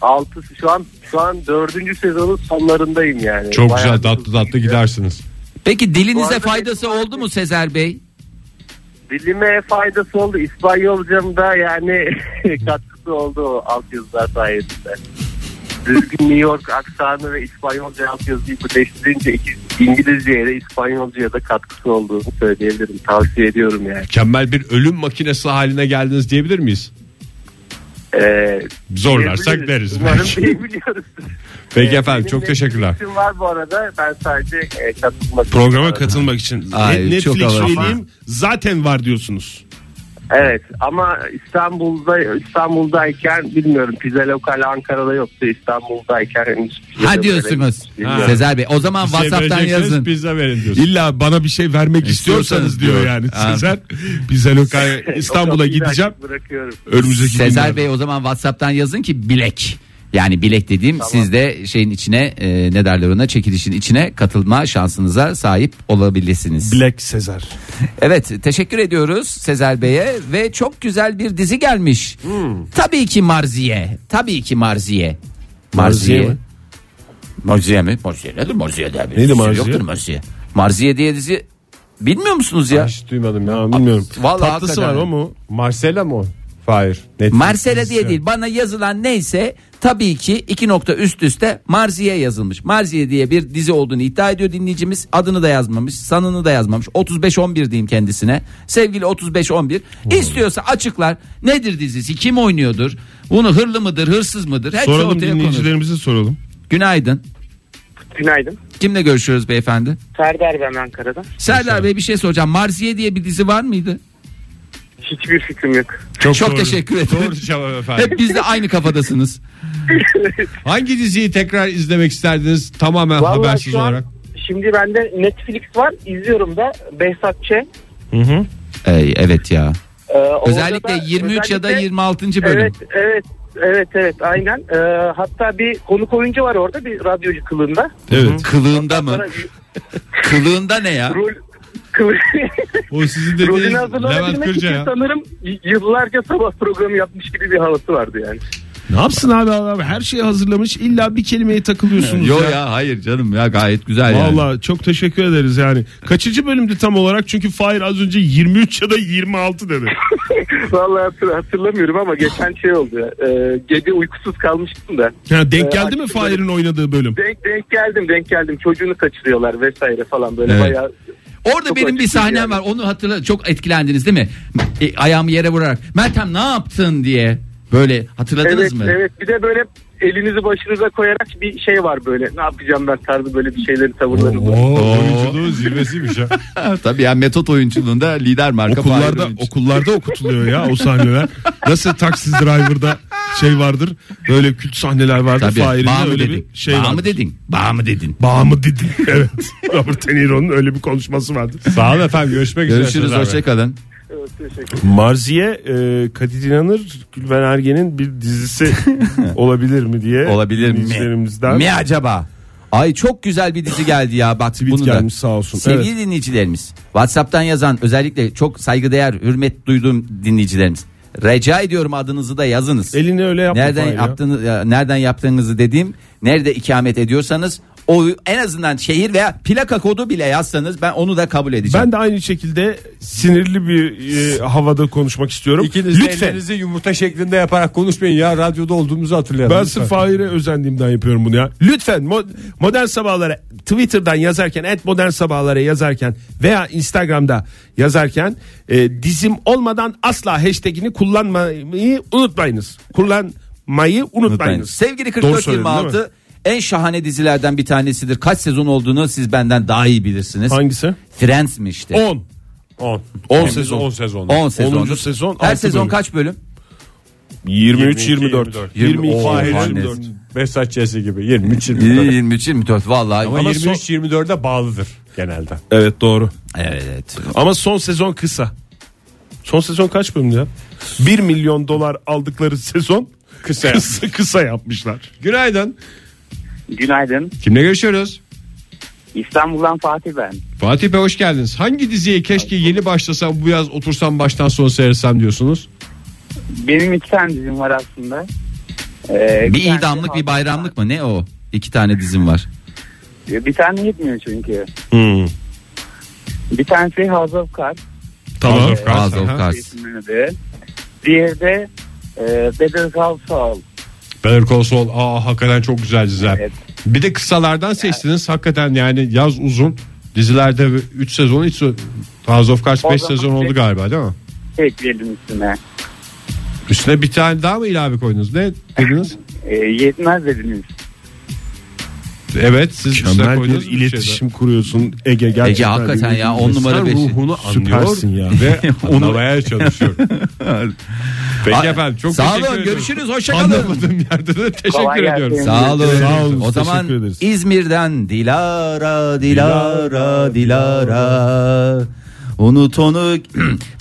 Speaker 6: Altısı şu an şu an dördüncü sezonun sonlarındayım yani.
Speaker 3: Çok
Speaker 6: Bayağı
Speaker 3: güzel
Speaker 6: bir-
Speaker 3: tatlı tatlı gidersiniz.
Speaker 4: Peki
Speaker 6: Bu
Speaker 4: dilinize
Speaker 6: arada
Speaker 4: faydası
Speaker 6: Netflix-
Speaker 4: oldu mu Sezer Bey?
Speaker 6: Dilime faydası oldu. İspanyolcam da yani katkısı oldu o altyazılar sayesinde. Düzgün New York aksanı ve İspanyolca altyazıyı birleştirince iki- İngilizceye de İspanyolcaya da katkısı olduğunu söyleyebilirim. Tavsiye ediyorum yani.
Speaker 3: Mükemmel bir ölüm makinesi haline geldiniz diyebilir miyiz?
Speaker 6: Ee,
Speaker 3: Zorlarsak
Speaker 6: diyebiliriz.
Speaker 3: deriz
Speaker 6: Umarım
Speaker 3: belki.
Speaker 6: diyebiliyoruz.
Speaker 3: Peki
Speaker 6: Ee,
Speaker 3: efendim
Speaker 6: benim
Speaker 3: çok
Speaker 6: de
Speaker 3: teşekkürler.
Speaker 6: fikrim var bu arada. Ben sadece e, katılmak
Speaker 5: Programa katılmak için
Speaker 4: Ay,
Speaker 5: Net-
Speaker 4: çok
Speaker 5: Netflix
Speaker 4: havalı.
Speaker 5: üyeliğim zaten var diyorsunuz.
Speaker 6: Evet ama İstanbul'da İstanbul'dayken bilmiyorum pizza lokal Ankara'da yoktu İstanbul'dayken henüz pizza
Speaker 4: Ha
Speaker 6: lokal-
Speaker 4: diyorsunuz.
Speaker 6: Bilmiyorum.
Speaker 4: Sezer Bey o zaman
Speaker 1: Bir şey
Speaker 4: WhatsApp'tan
Speaker 1: verecekseniz
Speaker 4: yazın.
Speaker 1: Pizza verin diyorsun.
Speaker 5: İlla bana bir şey vermek istiyorsanız
Speaker 4: İstiyorsanız
Speaker 5: diyor
Speaker 4: diyor.
Speaker 5: yani
Speaker 4: Ha.
Speaker 5: Sezer. Bize lokal İstanbul'a
Speaker 6: Otobüsü
Speaker 5: gideceğim.
Speaker 6: açıp Bırakıyorum.
Speaker 5: Önümüzdeki
Speaker 4: Sezer
Speaker 5: günlerde.
Speaker 4: Bey o zaman WhatsApp'tan yazın ki bilek. Yani bilek dediğim siz de şeyin içine e, ne derler ona çekilişin içine katılma şansınıza sahip olabilirsiniz.
Speaker 5: Black Sezer.
Speaker 4: Evet teşekkür ediyoruz Sezer Bey'e ve çok güzel bir dizi gelmiş.
Speaker 5: Hmm.
Speaker 4: Tabii ki Marziye. Tabii ki Marziye.
Speaker 5: Marziye mi?
Speaker 4: Marziye mi? Marziye nedir Marziye de abi.
Speaker 5: Neydi
Speaker 4: Marziye?
Speaker 5: Marziye?
Speaker 4: Yoktur Marziye. Marziye diye dizi bilmiyor musunuz ya?
Speaker 5: Hiç duymadım ya bilmiyorum.
Speaker 4: Vallahi
Speaker 5: Tatlısı var
Speaker 4: hakikaten.
Speaker 5: o mu?
Speaker 3: Marcella mı o? Hayır.
Speaker 4: Marcela diye değil bana yazılan neyse tabii ki iki nokta üst üste Marziye yazılmış. Marziye diye bir dizi olduğunu iddia ediyor dinleyicimiz. Adını da yazmamış, sanını da yazmamış. 3511 diyeyim kendisine. Sevgili 3511 istiyorsa açıklar. Nedir dizisi? Kim oynuyordur? Bunu hırlı mıdır, hırsız mıdır? Hepsi
Speaker 5: Soralım
Speaker 4: ortaya konur.
Speaker 5: dinleyicilerimize soralım.
Speaker 4: Günaydın.
Speaker 7: Günaydın.
Speaker 4: Kimle görüşüyoruz beyefendi?
Speaker 7: Serdar ben Ankara'dan.
Speaker 4: Serdar Bey bir şey soracağım. Marziye diye bir dizi var mıydı?
Speaker 7: Hiçbir fikrim yok.
Speaker 4: Çok, teşekkür ederim.
Speaker 1: Doğru cevap efendim.
Speaker 4: Hep biz de aynı kafadasınız.
Speaker 3: Hangi diziyi tekrar izlemek isterdiniz tamamen
Speaker 7: Vallahi
Speaker 3: habersiz
Speaker 7: şu an-
Speaker 3: olarak?
Speaker 7: Şimdi bende Netflix var. izliyorum da Behzat Ç.
Speaker 4: Ey, evet ya.
Speaker 7: Ee, orada
Speaker 4: Özellikle
Speaker 7: da-
Speaker 4: 23 ya da
Speaker 7: özellikle-
Speaker 4: 26. bölüm.
Speaker 7: Evet evet evet evet aynen. Ee, hatta bir konuk oyuncu var orada bir radyocu kılığında.
Speaker 1: Evet.
Speaker 4: Kılığında mı?
Speaker 7: Sonra bir
Speaker 4: Kılığında ne ya?
Speaker 7: rol kılı-
Speaker 1: O sizin
Speaker 7: rolünü
Speaker 1: dediğiniz Levent
Speaker 7: hazırlanabilmek
Speaker 1: Kırca
Speaker 7: için
Speaker 1: ya.
Speaker 7: sanırım y- yıllarca sabah programı yapmış gibi bir havası vardı yani.
Speaker 5: Ne yapsın abi adam her şeyi hazırlamış illa bir kelimeye takılıyorsunuz
Speaker 4: Yo
Speaker 5: ya.
Speaker 4: ya hayır canım ya gayet güzel yani.
Speaker 5: Valla çok teşekkür ederiz yani. Kaçıncı bölümdü tam olarak? Çünkü Fahir az önce 23 ya da 26 dedi.
Speaker 7: Vallahi hatır- hatırlamıyorum ama geçen şey oldu. ya, e, gece uykusuz kalmıştım da.
Speaker 5: Ha, denk
Speaker 7: Ee,
Speaker 5: geldi mi
Speaker 7: açık
Speaker 5: Fahir'in
Speaker 7: bölüm.
Speaker 5: oynadığı bölüm?
Speaker 7: Denk, denk geldim denk geldim çocuğunu kaçırıyorlar vesaire falan böyle
Speaker 4: Evet.
Speaker 7: bayağı
Speaker 4: Orada
Speaker 7: Çok
Speaker 4: benim bir
Speaker 7: açık
Speaker 4: sahnem
Speaker 7: yani.
Speaker 4: var onu hatırla çok etkilendiniz değil mi? E, ayağımı yere vurarak Meltem ne yaptın diye böyle hatırladınız
Speaker 7: evet,
Speaker 4: mı?
Speaker 7: Evet bir de böyle elinizi başınıza koyarak bir şey var böyle ne yapacağım ben tarzı böyle bir şeyleri tavırları var.
Speaker 1: Oo, oyunculuğun zirvesiymiş ha.
Speaker 4: Tabii ya metot oyunculuğunda lider marka Fahir
Speaker 5: Okullarda
Speaker 4: Öğünç.
Speaker 5: okullarda okutuluyor ya o sahneler. Nasıl taksi driver'da şey vardır. Böyle kült sahneler vardır.
Speaker 4: Tabii.
Speaker 5: Fahir'in
Speaker 4: Bağ
Speaker 5: de
Speaker 4: mı
Speaker 5: öyle
Speaker 4: dedin?
Speaker 5: bir şey
Speaker 4: Bağ
Speaker 5: vardır.
Speaker 4: mı dedin? Bağ mı dedin?
Speaker 5: Bağ mı dedin? Evet. Robert De Niro'nun öyle bir konuşması vardı.
Speaker 1: Sağ olun efendim görüşmek üzere.
Speaker 4: Görüşürüz
Speaker 1: Sezer Bey.
Speaker 4: hoşçakalın.
Speaker 7: Evet, teşekkür
Speaker 5: Marziye e, Kadir İnanır Gülben Ergen'in bir dizisi olabilir mi diye
Speaker 4: Olabilir mi?
Speaker 5: dinleyicilerimizden
Speaker 4: Mi acaba? Ay çok güzel bir dizi geldi ya bak
Speaker 5: tweet
Speaker 4: bunu da.
Speaker 5: gelmiş sağ olsun.
Speaker 4: Sevgili dinleyicilerimiz, WhatsApp'tan yazan özellikle çok saygıdeğer, hürmet duyduğum dinleyicilerimiz. Rica ediyorum adınızı da yazınız.
Speaker 5: Elini öyle yapma
Speaker 4: nereden
Speaker 5: Fahir ya.
Speaker 4: yaptığınız ya, nereden yaptığınızı dediğim, nerede ikamet ediyorsanız o en azından şehir veya plaka kodu bile yazsanız ben onu da kabul edeceğim.
Speaker 5: Ben de aynı şekilde sinirli bir e, havada konuşmak istiyorum.
Speaker 3: İkiniz de
Speaker 5: Lütfen.
Speaker 3: ellerinizi yumurta şeklinde yaparak konuşmayın ya radyoda olduğumuzu hatırlayalım.
Speaker 5: Ben
Speaker 3: lütfen.
Speaker 5: sırf Fahir'e özendiğimden yapıyorum bunu ya. Lütfen mo- modern sabahlara Twitter'dan yazarken et modern sabahlara yazarken veya Instagram'da yazarken e, dizim olmadan asla hashtagini kullanmayı unutmayınız. Kullanmayı
Speaker 4: Unutmayın.
Speaker 5: unutmayınız.
Speaker 4: Sevgili
Speaker 5: Doğru söyledim, değil mi?
Speaker 4: 4426 en şahane dizilerden bir tanesidir. Kaç sezon olduğunu siz benden daha iyi bilirsiniz.
Speaker 5: Hangisi?
Speaker 4: Friends'mişti.
Speaker 5: 10.
Speaker 1: 10.
Speaker 5: 10
Speaker 1: sezon. 10 sezon.
Speaker 4: 10 sezon.
Speaker 5: Onuncu sezon,
Speaker 4: Her
Speaker 5: altı
Speaker 4: sezon
Speaker 5: bölüm.
Speaker 4: kaç bölüm?
Speaker 5: 23 24.
Speaker 1: 24.
Speaker 5: 22
Speaker 4: Oo,
Speaker 5: Fahir'in-
Speaker 4: Fahir.
Speaker 3: Behzat Ç'si gibi 23 24.
Speaker 4: 23 24 vallahi.
Speaker 3: Ama
Speaker 5: Ama
Speaker 3: 23 24'e bağlıdır genelde.
Speaker 5: Evet doğru.
Speaker 4: Evet.
Speaker 5: Ama son sezon kısa. Son sezon kaç bölümdü ya? 1 milyon dolar aldıkları sezon
Speaker 3: Kısa.
Speaker 5: kısa, kısa yapmışlar.
Speaker 3: Günaydın.
Speaker 7: Günaydın.
Speaker 3: Kimle görüşüyoruz?
Speaker 7: İstanbul'dan Fatih ben.
Speaker 3: Fatih Bey hoş geldiniz. Hangi diziye keşke yeni başlasam bu yaz otursam baştan sona seyretsem diyorsunuz?
Speaker 7: Benim iki tane dizim var aslında.
Speaker 5: E,
Speaker 4: Bir
Speaker 5: şey
Speaker 4: idamlık bir bayramlık mı ne o? İki tane dizim var.
Speaker 7: E, Bir tane yetmiyor çünkü.
Speaker 5: Hmm.
Speaker 7: Bir tanesi House of Cards.
Speaker 5: Tamam.
Speaker 4: House of Cards.
Speaker 7: isminin adı. Diğeri de e, Better Call Saul.
Speaker 3: Better Call Saul aa hakikaten çok güzel diziler.
Speaker 7: Evet.
Speaker 3: Bir de kısalardan seçtiniz. Hakikaten yani yaz uzun. Dizilerde 3 sezon hiç House of Cards
Speaker 7: O
Speaker 3: 5
Speaker 7: zaman
Speaker 3: sezon
Speaker 7: bir-
Speaker 3: oldu galiba değil mi?
Speaker 7: Ekledim üstüne.
Speaker 3: Üstüne bir tane daha mı ilave koydunuz? Ne dediniz?
Speaker 7: E, yetmez dediniz.
Speaker 8: Evet siz üstüne
Speaker 5: Mükemmel bir
Speaker 8: koydunuz mu bir şey
Speaker 5: iletişim kuruyorsun Ege gerçekten.
Speaker 4: Ege hakikaten
Speaker 5: bir-
Speaker 4: ya, on
Speaker 5: İnsan
Speaker 4: numara beşi.
Speaker 5: ruhunu anlıyor.
Speaker 8: Süpersin ya. Ve anlamaya çalışıyorum. Peki efendim çok
Speaker 4: Sağ
Speaker 8: teşekkür
Speaker 4: olun
Speaker 8: ediyorum.
Speaker 4: görüşürüz hoşçakalın.
Speaker 8: Anlamadığım yerde de
Speaker 7: Kolay
Speaker 8: teşekkür
Speaker 7: gelsin.
Speaker 8: ediyorum.
Speaker 4: Sağ olun.
Speaker 5: Sağ olun,
Speaker 4: O zaman
Speaker 5: teşekkür ederiz.
Speaker 4: İzmir'den Dilara, Dilara, Dilara. Unut onu.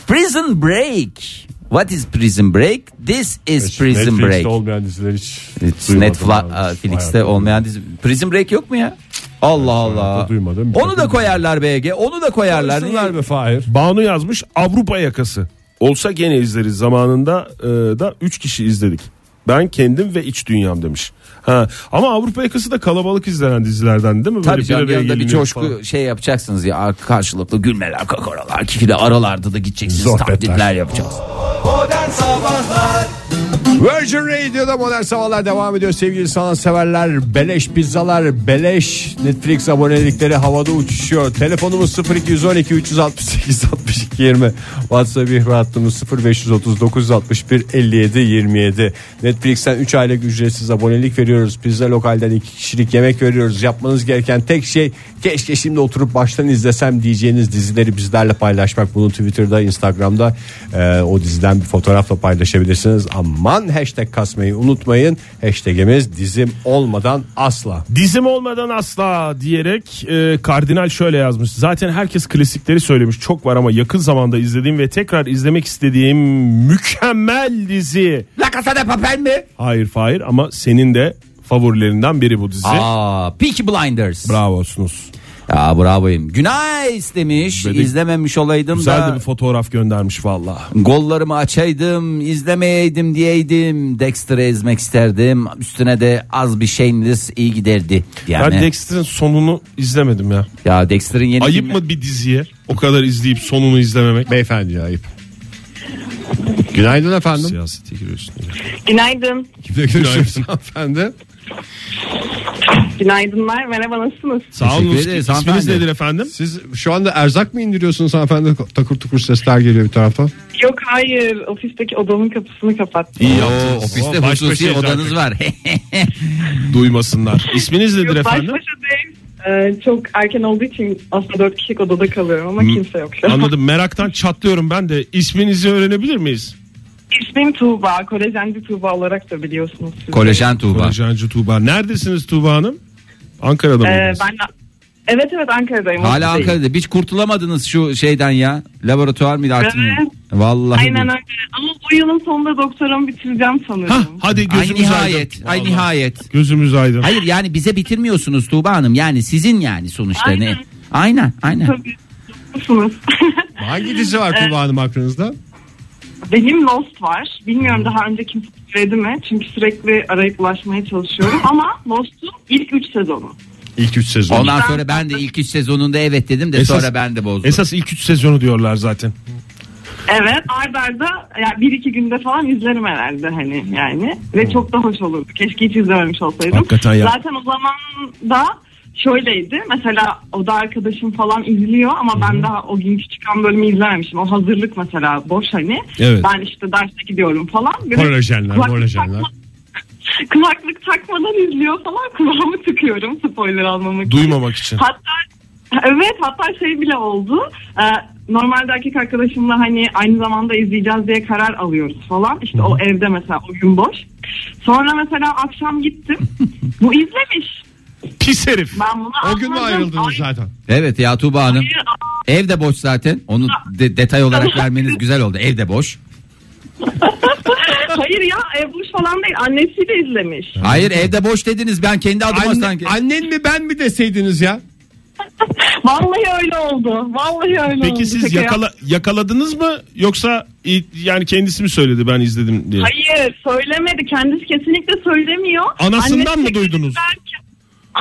Speaker 4: prison Break. What is Prison Break? This is Prison
Speaker 5: Netflix'te
Speaker 4: Break.
Speaker 5: olmayan diziler hiç
Speaker 4: It's
Speaker 5: duymadım
Speaker 4: Netflix-
Speaker 5: abi.
Speaker 4: aa, Netflix'te
Speaker 5: Hayatımda.
Speaker 4: olmayan dizi. Prison Break yok mu ya? Allah Allah.
Speaker 5: duymadım.
Speaker 4: Onu da koyarlar BG. Onu da koyarlar.
Speaker 3: Arasınlar mı Fahir?
Speaker 5: Banu yazmış Avrupa yakası. Olsa gene izleriz zamanında e, da 3 kişi izledik. Ben kendim ve iç dünyam demiş. Ha, ama Avrupa yakası da kalabalık izlenen dizilerden değil mi?
Speaker 4: Tabii canım
Speaker 5: araya
Speaker 4: yanında bir
Speaker 5: geliniyor
Speaker 4: coşku
Speaker 5: falan.
Speaker 4: şey yapacaksınız ya karşılıklı gülmeler kakaralar kikili aralarda da gideceksiniz
Speaker 3: Sohbetler.
Speaker 4: taklitler yapacağız.
Speaker 2: Modern Sabahlar
Speaker 3: Virgin Radio'da modern sabahlar devam ediyor sevgili sanatseverler. Beleş pizzalar, beleş Netflix abonelikleri havada uçuşuyor. Telefonumuz 0212 368 62 20. WhatsApp ihbar hattımız 0539 61 57 27. Netflix'ten 3 aylık ücretsiz abonelik veriyoruz. Pizza lokalden 2 kişilik yemek veriyoruz. Yapmanız gereken tek şey keşke şimdi oturup baştan izlesem diyeceğiniz dizileri bizlerle paylaşmak. Bunu Twitter'da, Instagram'da e, o diziden bir fotoğrafla paylaşabilirsiniz. Aman hashtag kasmayı unutmayın. Hashtagimiz dizim olmadan asla.
Speaker 5: Dizim olmadan asla diyerek e, kardinal şöyle yazmış. Zaten herkes klasikleri söylemiş. Çok var ama yakın zamanda izlediğim ve tekrar izlemek istediğim mükemmel dizi.
Speaker 4: La Casa de Papel mi?
Speaker 5: Hayır hayır ama senin de favorilerinden biri bu dizi.
Speaker 4: Aa, Peaky Blinders.
Speaker 5: Bravosunuz.
Speaker 4: Ya bravoyum. Günah istemiş.
Speaker 5: Böyle
Speaker 4: izlememiş olaydım
Speaker 5: Güzel de
Speaker 4: da.
Speaker 5: bir fotoğraf göndermiş valla.
Speaker 4: Gollarımı açaydım, izlemeyeydim diyeydim. Dexter'ı ezmek isterdim. Üstüne de az bir shameless iyi giderdi.
Speaker 5: Ben
Speaker 4: Yani.
Speaker 5: Dexter'ın sonunu izlemedim ya.
Speaker 4: ya Dexter'ın yeni
Speaker 8: Ayıp
Speaker 4: filmi-
Speaker 8: mı bir diziye o kadar izleyip sonunu izlememek?
Speaker 3: Beyefendi ayıp. Günaydın efendim.
Speaker 8: Siyasete giriyorsun.
Speaker 9: Günaydın.
Speaker 3: Kimle görüşüyorsun efendim?
Speaker 9: Günaydınlar. Merhaba nasılsınız?
Speaker 8: Sağ
Speaker 4: Teşekkür
Speaker 8: olun.
Speaker 4: ederiz
Speaker 8: İsminiz
Speaker 4: hanımefendi.
Speaker 8: nedir efendim?
Speaker 3: Siz şu anda erzak mı indiriyorsunuz hanımefendi? Takır tukur sesler geliyor bir taraftan.
Speaker 9: Yok hayır. Ofisteki odamın kapısını kapattım.
Speaker 8: İyi
Speaker 4: Oo, ofiste
Speaker 8: Baş
Speaker 4: hususi
Speaker 8: başayız
Speaker 4: odanız
Speaker 8: artık.
Speaker 4: var.
Speaker 8: Duymasınlar. İsminiz nedir
Speaker 9: Yok baş
Speaker 8: efendim?
Speaker 9: başa değil. Ee, çok erken olduğu için aslında dört kişilik odada kalıyorum ama kimse yok şu an.
Speaker 8: Anladım meraktan çatlıyorum ben de. İsminizi öğrenebilir miyiz?
Speaker 9: İsmim Tuğba. Kolejenci Tuğba olarak da biliyorsunuz siz.
Speaker 4: Kolejen Tuğba.
Speaker 8: Kolejancı Tuğba. Neredesiniz Tuğba Hanım? Ankara'da mı?
Speaker 9: Ee, ben Evet evet Ankara'dayım.
Speaker 4: Hala
Speaker 9: Ofisteyim.
Speaker 4: Ankara'da. Hiç kurtulamadınız şu şeyden ya. Laboratuvar mıydı artık?
Speaker 9: Evet.
Speaker 4: Vallahi.
Speaker 9: Aynen
Speaker 4: billahi.
Speaker 9: öyle. Ama bu yılın sonunda doktoramı bitireceğim sanırım.
Speaker 8: Hah, hadi
Speaker 4: Ay
Speaker 8: gözümüz
Speaker 4: nihayet.
Speaker 8: aydın.
Speaker 4: Ay
Speaker 8: Vallahi.
Speaker 4: nihayet.
Speaker 8: Gözümüz aydın.
Speaker 4: Hayır yani bize bitirmiyorsunuz Tuğba Hanım. Yani sizin yani sonuçta
Speaker 9: Aynen.
Speaker 4: ne? Aynen aynen.
Speaker 9: Tabii. Nasılsınız?
Speaker 3: Hangi dizi var
Speaker 9: Ee,
Speaker 3: Tuğba Hanım aklınızda?
Speaker 9: Benim Lost var. Bilmiyorum daha önce kimse söyledi mi? Çünkü sürekli arayıp ulaşmaya çalışıyorum. Ama Lost'un ilk 3 sezonu.
Speaker 3: İlk 3 sezon.
Speaker 4: Ondan sonra ben de ilk üç sezonunda evet dedim de
Speaker 8: Esas-
Speaker 4: sonra ben de bozdum.
Speaker 8: Esas ilk 3 sezonu diyorlar zaten.
Speaker 9: Evet ard arda yani bir iki günde falan izlerim herhalde hani yani. Ve çok da hoş olurdu. Keşke hiç izlememiş olsaydım.
Speaker 8: Hmm. Hakikaten ya.
Speaker 9: Zaten o zaman da şöyleydi. Mesela o da arkadaşım falan izliyor ama ben daha o günkü çıkan bölümü izlememişim. O hazırlık mesela boş hani.
Speaker 8: Evet.
Speaker 9: Ben işte derse gidiyorum falan. Böyle
Speaker 8: Kolejenler,
Speaker 9: kulaklık
Speaker 8: kolejenler.
Speaker 9: takma- kulaklık takmadan izliyor falan kulağımı tıkıyorum spoiler almamak için.
Speaker 8: Duymamak için.
Speaker 9: Hatta evet hatta şey bile oldu. Ee, normalde erkek arkadaşımla hani aynı zamanda izleyeceğiz diye karar alıyoruz falan. İşte o evde mesela o gün boş. Sonra mesela akşam gittim. Bu izlemiş.
Speaker 8: Pis herif.
Speaker 9: Ben bunu
Speaker 3: O gün mü
Speaker 9: anladım.
Speaker 3: ayrıldınız
Speaker 9: Ay,
Speaker 3: zaten?
Speaker 4: Evet ya Tuğba Hanım.
Speaker 9: hayır,
Speaker 4: Ev de boş zaten. Onu de- detay olarak vermeniz güzel oldu. Ev de boş.
Speaker 9: Hayır ya e, boş falan değil. Annesi de izlemiş.
Speaker 4: Hayır evde boş dediniz. Ben kendi adıma sanki.
Speaker 3: annen mi ben mi deseydiniz ya?
Speaker 9: Vallahi öyle oldu. Vallahi öyle oldu.
Speaker 8: Peki siz
Speaker 9: Şaka
Speaker 8: yakala, yakaladınız mı yoksa i- yani kendisi mi söyledi ben izledim diye?
Speaker 9: Hayır söylemedi. Kendisi kesinlikle söylemiyor.
Speaker 8: Anasından mı
Speaker 9: tekrar
Speaker 8: duydunuz?
Speaker 9: belki-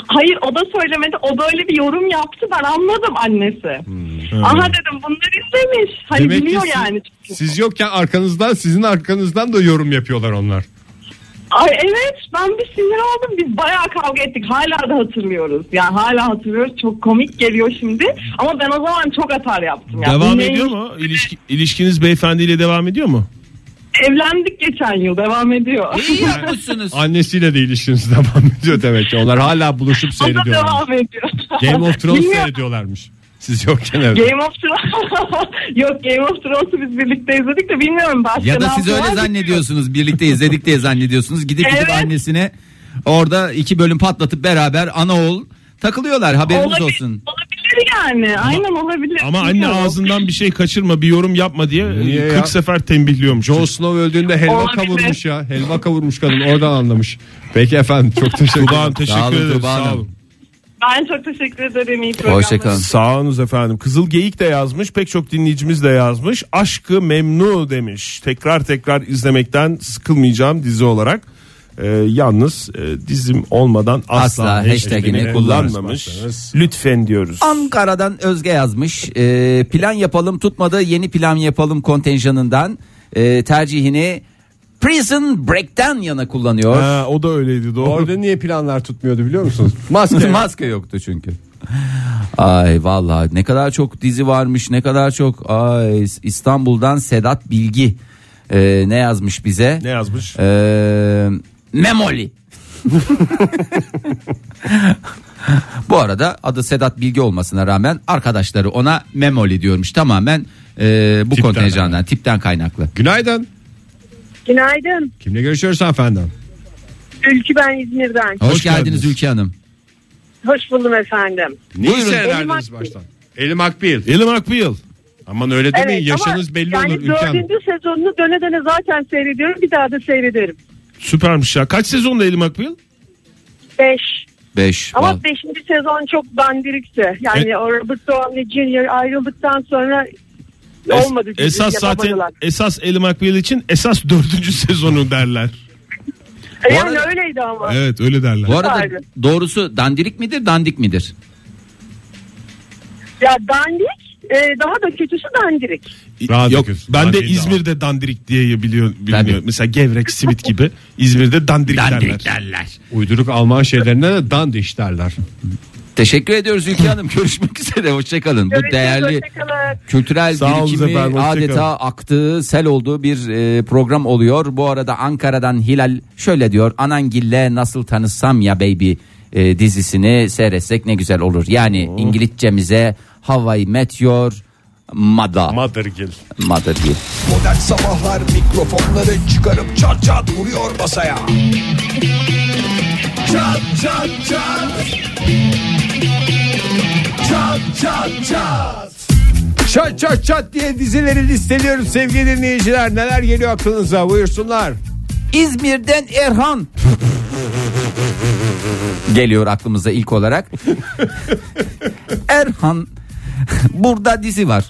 Speaker 9: Hayır o da söylemedi. O da öyle bir yorum yaptı. Ben anladım annesi. Aha dedim bunları izlemiş. Hani
Speaker 3: Hmm, Demek ki
Speaker 9: biliyor
Speaker 3: siz-
Speaker 9: yani. çünkü.
Speaker 3: Siz yokken arkanızdan sizin arkanızdan da yorum yapıyorlar onlar.
Speaker 9: Ay evet ben bir sinir oldum. Biz bayağı kavga ettik. Hala da hatırlıyoruz. Yani hala hatırlıyoruz. Çok komik geliyor şimdi. Ama ben o zaman çok atar yaptım. Yani
Speaker 8: Devam
Speaker 9: bu neymiş?
Speaker 8: ediyor mu? İlişki, ilişkiniz beyefendiyle devam ediyor mu?
Speaker 9: Evlendik geçen yıl devam ediyor.
Speaker 4: İyi yapmışsınız.
Speaker 3: Annesiyle de ilişkiniz devam ediyor demek ki. Onlar hala buluşup
Speaker 9: O da
Speaker 3: seyrediyorlar.
Speaker 9: devam ediyor.
Speaker 3: Game of Thrones
Speaker 9: Bilmiyorum.
Speaker 3: seyrediyorlarmış. Siz yokken evde.
Speaker 9: Game of Thrones. Yok Game of Thrones'u biz birlikte izledik de bilmiyorum başka
Speaker 4: Ya da
Speaker 9: ne
Speaker 4: siz
Speaker 9: yaptılar.
Speaker 4: öyle zannediyorsunuz birlikte izledik diye zannediyorsunuz. Gidip gidip
Speaker 9: Evet.
Speaker 4: annesine orada iki bölüm patlatıp beraber ana oğul takılıyorlar haberiniz
Speaker 9: Olabilir,
Speaker 4: olsun.
Speaker 9: Olabilir yani. Aynen olabilir.
Speaker 8: Ama anne
Speaker 9: Bilmiyorum.
Speaker 8: ağzından bir şey kaçırma bir yorum yapma diye
Speaker 3: Niye
Speaker 8: 40
Speaker 3: ya?
Speaker 8: sefer tembihliyormuş.
Speaker 3: Jon Snow öldüğünde helva
Speaker 9: Olabilir.
Speaker 3: kavurmuş ya. Helva kavurmuş kadın oradan anlamış. Peki efendim çok teşekkür
Speaker 8: Tuba Hanım
Speaker 3: ederim.
Speaker 4: Sağ
Speaker 8: teşekkür
Speaker 4: olun
Speaker 8: ederim.
Speaker 4: Tuba
Speaker 8: Sağ
Speaker 4: Hanım.
Speaker 8: olun.
Speaker 9: Ben çok teşekkür ederim. iyi programlar.
Speaker 4: Hoşçakalın.
Speaker 5: Sağolunuz efendim. Kızıl Geyik de yazmış. Pek çok dinleyicimiz de yazmış. Aşkı Memnu demiş. Tekrar tekrar izlemekten sıkılmayacağım dizi olarak. Ee, yalnız e, dizim olmadan asla,
Speaker 4: Asla hashtagini
Speaker 5: hashtagini kullanmamış.
Speaker 4: kullanmazsanız.
Speaker 5: Lütfen diyoruz.
Speaker 4: Ankara'dan Özge yazmış. Ee, plan yapalım tutmadı yeni plan yapalım kontenjanından e, tercihini Prison Break'ten yana kullanıyor.
Speaker 5: Ha, o da öyleydi doğru.
Speaker 3: Orada niye planlar tutmuyordu biliyor musunuz? Maske.
Speaker 4: Maske yoktu çünkü. Ay vallahi ne kadar çok dizi varmış ne kadar çok ay İstanbul'dan Sedat Bilgi Ee, ne yazmış bize?
Speaker 5: Ne yazmış?
Speaker 4: Ee, Memoli. Bu arada adı Sedat Bilgi olmasına rağmen arkadaşları ona Memoli diyormuş tamamen e, bu kontenjandan tipten kaynaklı.
Speaker 3: Günaydın.
Speaker 10: Günaydın.
Speaker 3: Kimle görüşüyoruz efendim?
Speaker 10: Ülkü ben İzmir'den.
Speaker 4: Hoş,
Speaker 3: Hoş
Speaker 4: geldiniz,
Speaker 3: geldiniz.
Speaker 4: Ülke Hanım.
Speaker 10: Hoş buldum efendim.
Speaker 3: Neyi
Speaker 10: Buyurun. Elim
Speaker 3: seyrerdiniz
Speaker 10: Akbil.
Speaker 3: baştan? Elim Akbil.
Speaker 5: Elim Akbil.
Speaker 3: Aman öyle demeyin yaşınız
Speaker 10: ama
Speaker 3: belli
Speaker 10: yani
Speaker 3: olur Ülke Hanım.
Speaker 10: dördüncü sezonunu döne döne zaten seyrediyorum. Bir daha da seyrederim.
Speaker 5: Süpermiş ya. Kaç sezonda Elim Akbil?
Speaker 10: Beş.
Speaker 4: 5.
Speaker 10: Ama beşinci sezon çok bandirikti. Yani o Robert Downey Jr. ayrıldıktan sonra
Speaker 8: Es-
Speaker 10: olmadı. çünkü
Speaker 8: esas zaten
Speaker 10: yapamadılar.
Speaker 8: esas Ellie McBeal için esas dördüncü sezonu derler.
Speaker 4: Bu
Speaker 10: Yani
Speaker 4: arada-
Speaker 10: öyleydi ama.
Speaker 8: Evet öyle derler.
Speaker 4: Bu arada
Speaker 10: Süperdi.
Speaker 4: doğrusu dandirik midir dandik midir?
Speaker 10: Ya dandik e, daha da kötüsü dandirik.
Speaker 3: Daha da
Speaker 8: Yok
Speaker 3: kötü.
Speaker 8: ben de
Speaker 3: Dandik daha.
Speaker 8: İzmir'de dandirik diye biliyor
Speaker 4: Tabii.
Speaker 8: biliniyor. Mesela gevrek simit gibi İzmir'de dandirik,
Speaker 4: Dandirik
Speaker 8: derler.
Speaker 4: derler.
Speaker 3: Uyduruk Alman şeylerine de dandiş derler.
Speaker 4: Teşekkür ediyoruz Ülke Hanım. Görüşmek üzere. Hoşçakalın. Bu
Speaker 10: Görüşürüz,
Speaker 4: değerli
Speaker 10: hoşçakalın.
Speaker 4: kültürel
Speaker 5: Sağ olun
Speaker 4: birikimi
Speaker 5: efendim, hoşça
Speaker 4: adeta aktığı sel olduğu bir e, program oluyor. Bu arada Ankara'dan Hilal şöyle diyor. Anangille nasıl tanışsam ya baby e, dizisini seyretsek ne güzel olur. Yani İngilizcemize Hawaii Meteor Mada.
Speaker 5: Mothergill.
Speaker 4: Mada diye.
Speaker 2: Modern Sabahlar mikrofonları çıkarıp çat çat vuruyor masaya. Çat çat çat. Çat çat çat.
Speaker 3: Çat çat çat diye dizileri listeliyoruz sevgili dinleyiciler. Neler geliyor aklınıza buyursunlar.
Speaker 4: İzmir'den Erhan geliyor aklımıza ilk olarak. Erhan burada dizi var.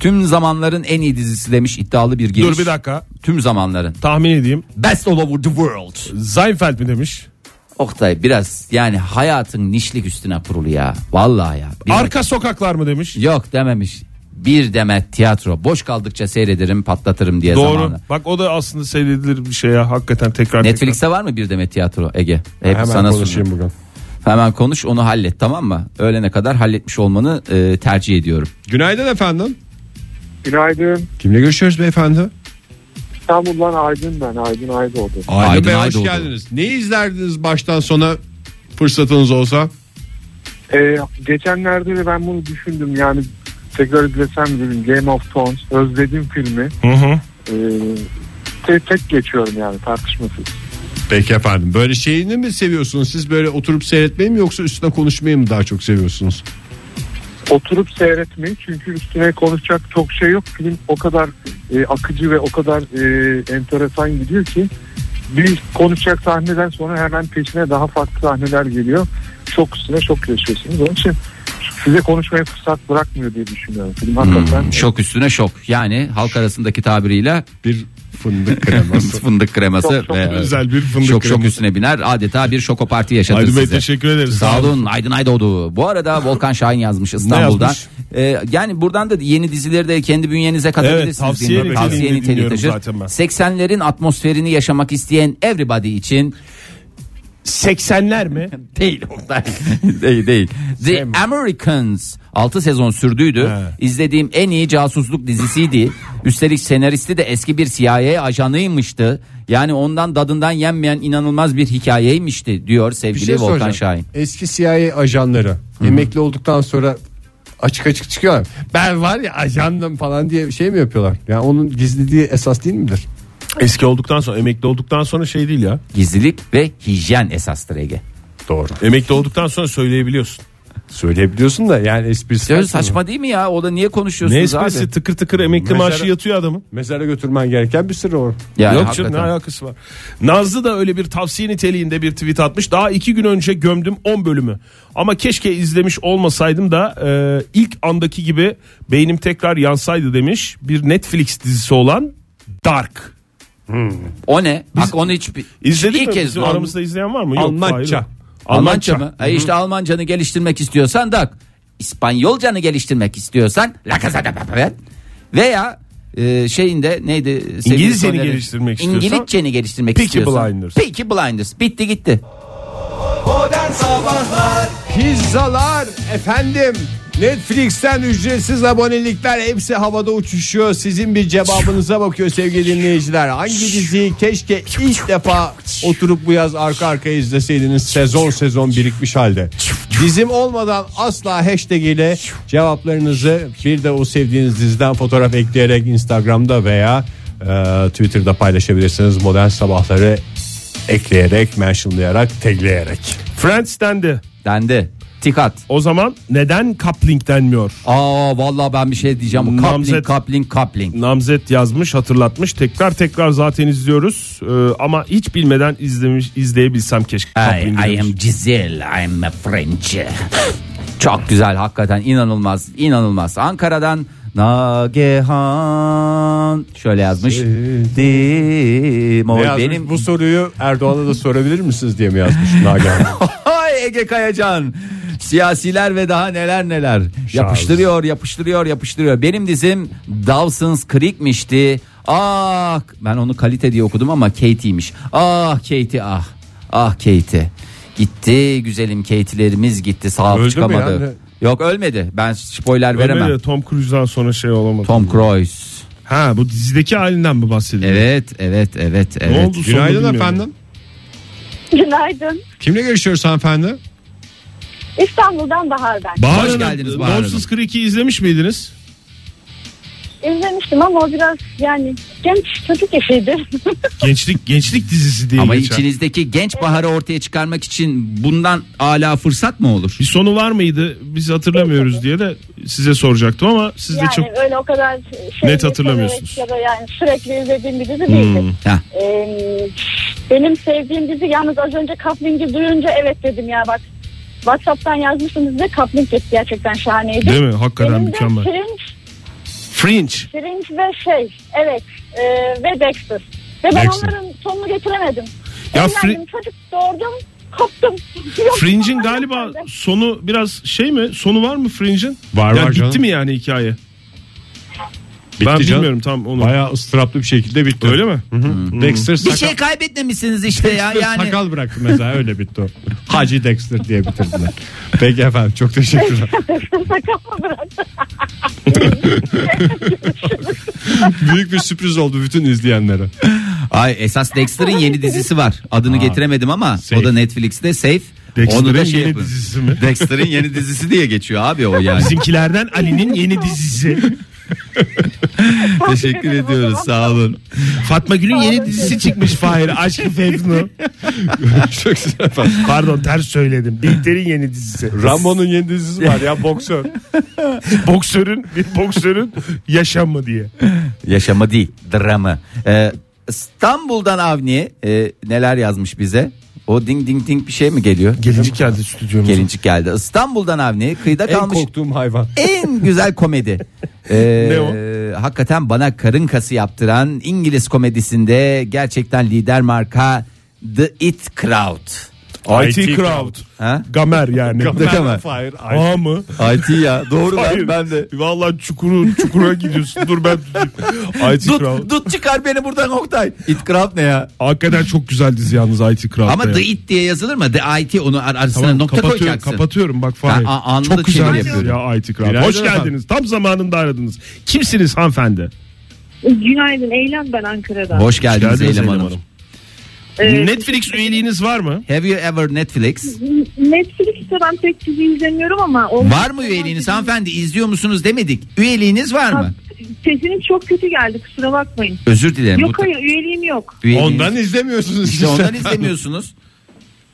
Speaker 4: Tüm zamanların en iyi dizisi demiş iddialı bir giriş.
Speaker 5: Dur bir dakika.
Speaker 4: Tüm zamanların.
Speaker 5: Tahmin edeyim.
Speaker 4: Best all over the world.
Speaker 5: Seinfeld mi demiş?
Speaker 4: Oktay biraz yani hayatın nişlik üstüne kurulu ya. Vallahi ya. Bir-
Speaker 5: Arka sokaklar mı demiş?
Speaker 4: Yok dememiş. Bir demet tiyatro. Boş kaldıkça seyrederim patlatırım diye
Speaker 5: Doğru.
Speaker 4: zamanı.
Speaker 5: Bak o da aslında seyredilir bir şey ya. Hakikaten tekrar
Speaker 4: Netflix'te var mı bir demet tiyatro Ege? Hep
Speaker 5: tekrar.
Speaker 4: sana
Speaker 5: Hemen
Speaker 4: sunuyorum.
Speaker 5: konuşayım bugün.
Speaker 4: Hemen konuş onu hallet tamam mı? Öğlene kadar halletmiş olmanı e, tercih ediyorum.
Speaker 3: Günaydın efendim.
Speaker 7: Günaydın.
Speaker 3: Kimle görüşüyoruz beyefendi?
Speaker 7: İstanbul'dan Aydın ben. Aydın Aydoğdu.
Speaker 3: Aydın,
Speaker 4: Aydın
Speaker 3: Bey hoş
Speaker 4: Aydoğdu.
Speaker 3: geldiniz. Neyi izlerdiniz baştan sona fırsatınız olsa?
Speaker 7: Ee, geçenlerde de ben bunu düşündüm. Yani tekrar izlesem dedim Game of Thrones. Özledim filmi.
Speaker 5: Hı hı.
Speaker 7: Ee, te- tek geçiyorum yani tartışmasız.
Speaker 3: Peki efendim. Böyle şeyini mi seviyorsunuz? Siz böyle oturup seyretmeyi mi yoksa üstüne konuşmayı mı daha çok seviyorsunuz?
Speaker 7: Oturup seyretmeyi çünkü üstüne konuşacak çok şey yok. Film o kadar e, akıcı ve o kadar e, enteresan gidiyor ki bir konuşacak sahneden sonra hemen peşine daha farklı sahneler geliyor. Çok üstüne çok yaşıyorsunuz. Onun için size konuşmaya fırsat bırakmıyor diye düşünüyorum. Film hakikaten
Speaker 4: Hmm, şok üstüne şok. Yani halk arasındaki tabiriyle
Speaker 3: Bir fındık kreması.
Speaker 4: fındık kreması
Speaker 7: Çok, çok
Speaker 4: ve
Speaker 5: Güzel bir fındık
Speaker 4: şok şok
Speaker 5: kreması.
Speaker 4: üstüne biner. Adeta bir şoko parti yaşatır
Speaker 5: Aydın Bey
Speaker 4: size.
Speaker 5: teşekkür ederiz.
Speaker 4: Sağ olun Aydın Aydoğdu. Bu arada Volkan Şahin yazmış İstanbul'dan.
Speaker 5: yazmış?
Speaker 4: E, yani buradan da yeni dizileri de kendi bünyenize katabilirsiniz.
Speaker 5: Evet, tavsiye
Speaker 4: dinliyorum.
Speaker 5: niteliğinde
Speaker 4: Tavsiye niteliği
Speaker 5: dinliyorum
Speaker 4: taşır.
Speaker 5: zaten ben.
Speaker 4: 80'lerin atmosferini yaşamak isteyen everybody için
Speaker 5: 80'ler mi?
Speaker 4: Değil Oktay. değil değil. The Americans 6 sezon sürdüydü. İzlediğim en iyi casusluk dizisiydi. Üstelik senaristi de eski bir CIA ajanıymıştı. Yani ondan dadından yenmeyen inanılmaz bir hikayeymişti diyor
Speaker 11: Bir
Speaker 4: sevgili
Speaker 11: şey
Speaker 4: Volkan
Speaker 11: soracağım.
Speaker 4: Şahin.
Speaker 11: Eski CIA ajanları emekli olduktan sonra açık açık çıkıyorlar. Ben var ya ajandım falan diye şey mi yapıyorlar? Ya onun gizliliği esas değil midir?
Speaker 5: Eski olduktan sonra emekli olduktan sonra şey değil ya.
Speaker 4: Gizlilik ve hijyen esastır Ege.
Speaker 11: Doğru.
Speaker 5: Emekli olduktan sonra söyleyebiliyorsun.
Speaker 11: Söyleyebiliyorsun da yani esprisi.
Speaker 4: Ya
Speaker 11: var
Speaker 4: saçma değil mi ya? O da niye
Speaker 5: Ne
Speaker 4: konuşuyorsunuz abi?
Speaker 5: esprisi tıkır tıkır emekli
Speaker 11: Mesela-
Speaker 5: maaşı yatıyor adamın.
Speaker 11: bunun. Mezara götürmen gereken bir sır o.
Speaker 4: Yani
Speaker 5: Yok canım
Speaker 4: hakikaten.
Speaker 5: ne alakası var. Nazlı da öyle bir tavsiye niteliğinde bir tweet atmış. Daha iki gün önce gömdüm 10 bölümü. Ama keşke izlemiş olmasaydım da e, ilk andaki gibi beynim tekrar yansaydı demiş. Bir Netflix dizisi olan Dark.
Speaker 4: O ne? Bak onu hiç
Speaker 5: İzledik
Speaker 4: ilk
Speaker 5: mi?
Speaker 4: kez
Speaker 5: Bizim
Speaker 4: Al-
Speaker 5: aramızda izleyen var mı? Yok,
Speaker 11: Almanca.
Speaker 5: hayır, yok.
Speaker 4: Almanca mı? E işte Almancanı geliştirmek istiyorsan da İspanyolcanı geliştirmek istiyorsan La Casa de Papel veya e, şeyinde neydi? sevgili
Speaker 5: İngilizceni
Speaker 4: Soner'in-
Speaker 5: geliştirmek istiyorsan-
Speaker 4: İngilizceni geliştirmek
Speaker 5: Peaky
Speaker 4: istiyorsan.
Speaker 5: Blinders.
Speaker 4: Peaky Blinders. Bitti gitti.
Speaker 3: Pizzalar efendim. Netflix'ten ücretsiz abonelikler hepsi havada uçuşuyor. Sizin bir cevabınıza bakıyor sevgili dinleyiciler. Hangi diziyi keşke ilk defa oturup bu yaz arka arkaya izleseydiniz sezon sezon birikmiş halde. Dizim olmadan asla hashtag ile cevaplarınızı bir de o sevdiğiniz diziden fotoğraf ekleyerek Instagram'da veya e, Twitter'da paylaşabilirsiniz. Modern sabahları ekleyerek, mentionlayarak, tagleyerek.
Speaker 5: Friends dendi.
Speaker 4: Dendi. Tikat.
Speaker 5: O zaman neden coupling denmiyor?
Speaker 4: Aa vallahi ben bir şey diyeceğim. Bu
Speaker 5: Namzet-
Speaker 4: coupling, coupling, coupling.
Speaker 5: Namzet yazmış hatırlatmış tekrar tekrar zaten izliyoruz Ee, ama hiç bilmeden izlemiş izleyebilsem keşke.
Speaker 4: I,
Speaker 5: Coupling
Speaker 4: I
Speaker 5: demiş.
Speaker 4: am Giselle, I am a French. Çok güzel hakikaten inanılmaz inanılmaz. Ankara'dan Nagehan şöyle yazmış. Dim o
Speaker 11: Ne yazmış?
Speaker 4: benim
Speaker 11: Bu soruyu Erdoğan'a da sorabilir misiniz diye mi yazmış Nagihan?
Speaker 4: Ay Ege Kayacan. Siyasiler ve daha neler neler. Yapıştırıyor, yapıştırıyor, yapıştırıyor. Benim dizim Dawson's Creek'mişti. Ah ben onu kalite diye okudum ama Katie'ymiş. Ah Katie ah. Ah Katie. Gitti güzelim Katie'lerimiz gitti sağ
Speaker 11: Öldü mü
Speaker 4: çıkamadı.
Speaker 11: yani?
Speaker 4: Yok ölmedi. Ben spoiler
Speaker 5: Öyle
Speaker 4: veremem.
Speaker 5: de Tom Cruise'dan sonra şey olamadı.
Speaker 4: Tom Cruise.
Speaker 5: Ha bu dizideki halinden mi bahsediyorsun?
Speaker 4: Evet, evet, evet, evet.
Speaker 5: Ne oldu sonunda
Speaker 11: Günaydın
Speaker 5: bilmiyorum.
Speaker 11: efendim.
Speaker 10: Günaydın.
Speaker 11: Kimle görüşüyoruz hanımefendi?
Speaker 10: İstanbul'dan Bahar ben.
Speaker 5: Bahar
Speaker 4: Hoş
Speaker 5: Hanım,
Speaker 4: geldiniz Bahar Hanım.
Speaker 5: Dawson's Creek'i izlemiş miydiniz?
Speaker 10: İzlemiştim ama o biraz yani genç çocuk yaşıydı.
Speaker 5: Gençlik gençlik dizisi diye
Speaker 4: Ama
Speaker 5: geçer.
Speaker 4: içinizdeki genç baharı ortaya çıkarmak için bundan ala fırsat mı olur?
Speaker 5: Bir sonu var mıydı? Biz hatırlamıyoruz diye de size soracaktım ama siz de
Speaker 10: yani
Speaker 5: çok
Speaker 10: öyle o kadar şey
Speaker 5: Net hatırlamıyorsunuz. Hmm.
Speaker 10: Ya da yani sürekli izlediğim bir dizi değildi.
Speaker 4: Heh.
Speaker 10: Ee, benim sevdiğim dizi yalnız az önce Coupling'i duyunca evet dedim ya bak. Whatsapp'tan yazmışsınız da Coupling gitti gerçekten şahaneydi.
Speaker 5: değil mi? Hakikaten
Speaker 10: Benim de
Speaker 5: mükemmel.
Speaker 10: Fringe,
Speaker 5: Fringe.
Speaker 10: Fringe ve şey evet e, ve Dexter. Ve ben
Speaker 5: Dexter.
Speaker 10: onların sonunu getiremedim.
Speaker 5: Ya
Speaker 10: Evlendim, çocuk doğurdum koptum. Yok,
Speaker 5: Fringe'in
Speaker 10: olmadı
Speaker 5: galiba
Speaker 10: bende.
Speaker 5: sonu biraz şey mi? Sonu var mı Fringe'in?
Speaker 11: Var,
Speaker 5: yani
Speaker 11: var
Speaker 5: bitti
Speaker 11: canım.
Speaker 5: mi yani hikaye?
Speaker 11: Bitti canım.
Speaker 5: ben bilmiyorum tam onu.
Speaker 11: Bayağı ıstıraplı bir şekilde bitti.
Speaker 5: Öyle mi?
Speaker 11: Dexter
Speaker 4: Bir
Speaker 11: sakal,
Speaker 4: şey kaybetmemişsiniz işte ya yani.
Speaker 11: sakal bıraktı mesela öyle bitti o. Hacı Dexter diye bitirdiler. Peki efendim çok teşekkürler.
Speaker 10: Sakalımı bıraktım.
Speaker 11: Büyük bir sürpriz oldu bütün izleyenlere.
Speaker 4: Ay esas Dexter'ın yeni dizisi var. Adını getiremedim ama o da Netflix'te Safe. Onu
Speaker 5: Dexter'ın
Speaker 4: da şey
Speaker 5: yeni
Speaker 4: yapın.
Speaker 5: dizisi mi?
Speaker 4: Dexter'ın yeni dizisi diye geçiyor abi o yani.
Speaker 5: Bizimkilerden Ali'nin yeni dizisi.
Speaker 4: Teşekkür ediyoruz sağ olun.
Speaker 5: Fatma Gül'ün yeni dizisi çıkmış Fahir. Aşkı Fevnu.
Speaker 11: çok güzel efendim.
Speaker 5: Pardon ters söyledim. Bihter'in yeni dizisi.
Speaker 11: Rambo'nun yeni dizisi var ya boksör.
Speaker 5: boksörün bir boksörün yaşamı diye.
Speaker 4: Yaşama değil dramı. Ee, İstanbul'dan Avni e, neler yazmış bize? O ding ding ding bir şey mi geliyor?
Speaker 5: Gelinci geldi stüdyomuza.
Speaker 4: Gelincik geldi. İstanbul'dan Avni kıyıda
Speaker 11: en
Speaker 4: kalmış
Speaker 11: korktuğum hayvan.
Speaker 4: en güzel komedi. Ee,
Speaker 5: Ne o?
Speaker 4: Hakikaten bana karın kası yaptıran İngiliz komedisinde gerçekten lider marka The It Crowd.
Speaker 5: IT, Crowd.
Speaker 4: Ha?
Speaker 5: Gamer yani.
Speaker 4: Gamer. Gamer.
Speaker 5: Hayır. A mı?
Speaker 4: IT ya doğru ben,
Speaker 5: Hayır.
Speaker 4: ben de.
Speaker 5: Vallahi çukuru, çukura gidiyorsun. Dur ben tutayım. IT Crowd.
Speaker 4: Dut, dut çıkar beni buradan Oktay. It Crowd ne ya?
Speaker 5: Hakikaten çok güzel dizi yalnız IT Crowd'da.
Speaker 4: Ama
Speaker 5: ya.
Speaker 4: the it diye yazılır mı? The IT onu ar- arasına
Speaker 5: Tamam,
Speaker 4: nokta
Speaker 5: kapatıyorum,
Speaker 4: koyacaksın.
Speaker 5: Kapatıyorum bak
Speaker 4: Ben
Speaker 5: Fahir.
Speaker 4: a- anında
Speaker 5: Çok güzel
Speaker 4: çeviri
Speaker 5: yapıyor.
Speaker 4: yapıyorum.
Speaker 5: şey ya IT Crowd.
Speaker 12: Günaydın
Speaker 5: Hoş
Speaker 12: efendim.
Speaker 5: geldiniz. Tam zamanında aradınız. Kimsiniz hanımefendi?
Speaker 9: Günaydın Eylem ben Ankara'dan.
Speaker 4: Hoş geldiniz,
Speaker 5: Hoş geldiniz
Speaker 4: Eylem
Speaker 5: Eylem
Speaker 4: Hanım.
Speaker 5: Hanım.
Speaker 9: Ee,
Speaker 5: Netflix üyeliğiniz var mı?
Speaker 4: Have you ever Netflix?
Speaker 9: Netflix'te ben pek dizi izlemiyorum ama... o-
Speaker 4: Var mı üyeliğiniz hanımefendi? İzliyor musunuz demedik. Üyeliğiniz var mı?
Speaker 9: Sesiniz çok kötü geldi kusura bakmayın.
Speaker 4: Özür dilerim.
Speaker 9: yok
Speaker 4: Bu-
Speaker 9: hayır üyeliğim yok.
Speaker 4: üyeliğiniz-
Speaker 3: Ondan izlemiyorsunuz.
Speaker 4: İşte
Speaker 3: siz.
Speaker 4: ondan izlemiyorsunuz.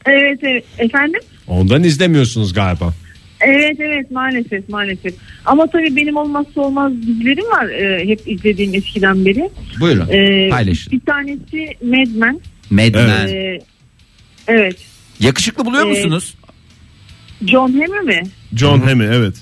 Speaker 9: Evet evet efendim?
Speaker 3: Ondan izlemiyorsunuz galiba.
Speaker 9: Evet evet maalesef maalesef. Ama tabii benim olmazsa olmaz dizilerim var e, hep izlediğim eskiden beri.
Speaker 4: Buyurun
Speaker 9: Ee,
Speaker 4: paylaşın.
Speaker 9: Bir tanesi Mad Men.
Speaker 4: Mad Men.
Speaker 9: Ee, evet.
Speaker 4: Yakışıklı buluyor
Speaker 9: Ee,
Speaker 4: musunuz?
Speaker 9: John Hammer mi?
Speaker 5: John Hemi evet.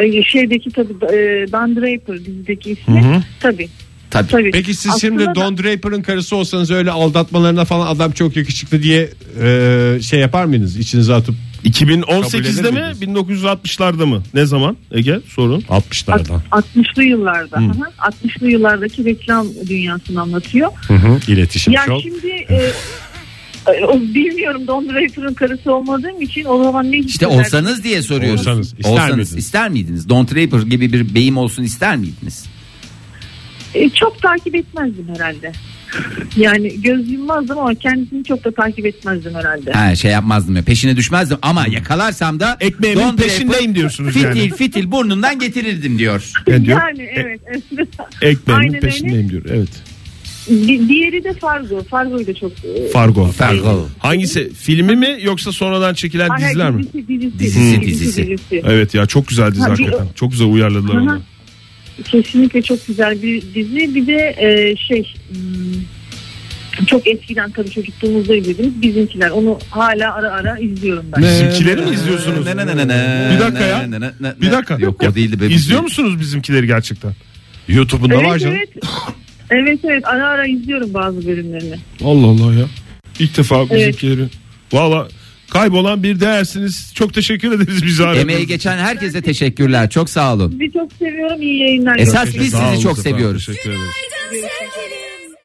Speaker 9: Ee, şeydeki tabii e, Don Draper dizideki ismi.
Speaker 3: Hı hı.
Speaker 9: Tabii.
Speaker 4: Tabii.
Speaker 9: tabii.
Speaker 3: Peki siz
Speaker 9: Aslında
Speaker 3: şimdi
Speaker 9: da-
Speaker 3: Don Draper'ın karısı olsanız öyle aldatmalarına falan adam çok yakışıklı diye e, şey yapar mıydınız? İçinize atıp Kabul
Speaker 5: 2018'de
Speaker 3: eder
Speaker 5: mi
Speaker 3: miydiniz?
Speaker 5: 1960'larda mı? Ne zaman? Ege sorun.
Speaker 3: 60'larda.
Speaker 9: 60'lı yıllarda.
Speaker 5: Hı.
Speaker 9: Aha, 60'lı yıllardaki reklam dünyasını anlatıyor.
Speaker 3: Hı hı. İletişim
Speaker 9: yani
Speaker 3: çok.
Speaker 9: şimdi e, e, o bilmiyorum Don Draper'ın karısı olmadığım için o zaman ne
Speaker 4: İşte
Speaker 9: hissederdim?
Speaker 4: olsanız diye soruyoruz.
Speaker 3: Olsanız, ister miydiniz?
Speaker 4: ister miydiniz? Don Draper gibi bir beyim olsun ister miydiniz?
Speaker 9: E, çok takip etmezdim herhalde. Yani göz yummazdım ama kendisini çok da takip etmezdim herhalde.
Speaker 4: Ha, şey yapmazdım ya peşine düşmezdim ama yakalarsam da
Speaker 5: Hmm. Ekmeğimin
Speaker 4: Don Draper
Speaker 5: peşindeyim diyorsunuz
Speaker 4: fitil,
Speaker 5: yani.
Speaker 4: Fitil fitil burnundan getirirdim diyor.
Speaker 5: Ben diyor,
Speaker 3: E-
Speaker 9: Yani evet.
Speaker 5: Ekmeğimin
Speaker 9: Aynen öyle.
Speaker 5: peşindeyim diyor. Evet.
Speaker 9: Di- diğeri de Fargo. Fargo'yu da çok... e,
Speaker 5: Fargo.
Speaker 4: Fargo.
Speaker 5: Hangisi? Filmi mi yoksa sonradan çekilen
Speaker 9: Hayır,
Speaker 5: diziler mi?
Speaker 9: dizisi, dizisi,
Speaker 4: Dizisi, dizisi.
Speaker 9: dizisi.
Speaker 5: Evet ya çok güzel dizi
Speaker 9: Ha, bir-
Speaker 5: hakikaten. Çok güzel uyarladılar
Speaker 9: Aha.
Speaker 5: onu.
Speaker 9: Kesinlikle çok güzel bir dizi. Bir de e, şey hmm, çok eskiden tabii çocukluğumuzda izlediğimiz bizimkiler. Onu hala ara ara izliyorum ben.
Speaker 5: Bizimkileri mi izliyorsunuz?
Speaker 4: Ne, ne, ne, ne, ne,
Speaker 5: Bir dakika ya.
Speaker 4: ne, ne, ne, ne.
Speaker 5: Bir dakika.
Speaker 4: Yok o değildi. be.
Speaker 5: İzliyor musunuz bizimkileri gerçekten?
Speaker 3: YouTube'unda
Speaker 9: evet,
Speaker 3: var canım.
Speaker 9: evet. evet evet ara ara izliyorum bazı bölümlerini.
Speaker 5: Allah Allah ya. İlk defa bizimkileri. Valla kaybolan bir değersiniz. Çok teşekkür ederiz bize.
Speaker 4: Emeği geçen herkese teşekkürler. Çok sağ olun. E
Speaker 9: Sizi çok seviyorum. iyi yayınlar.
Speaker 4: Esas biz sizi çok seviyoruz.
Speaker 5: Teşekkür ederiz.
Speaker 13: Günaydın sevgili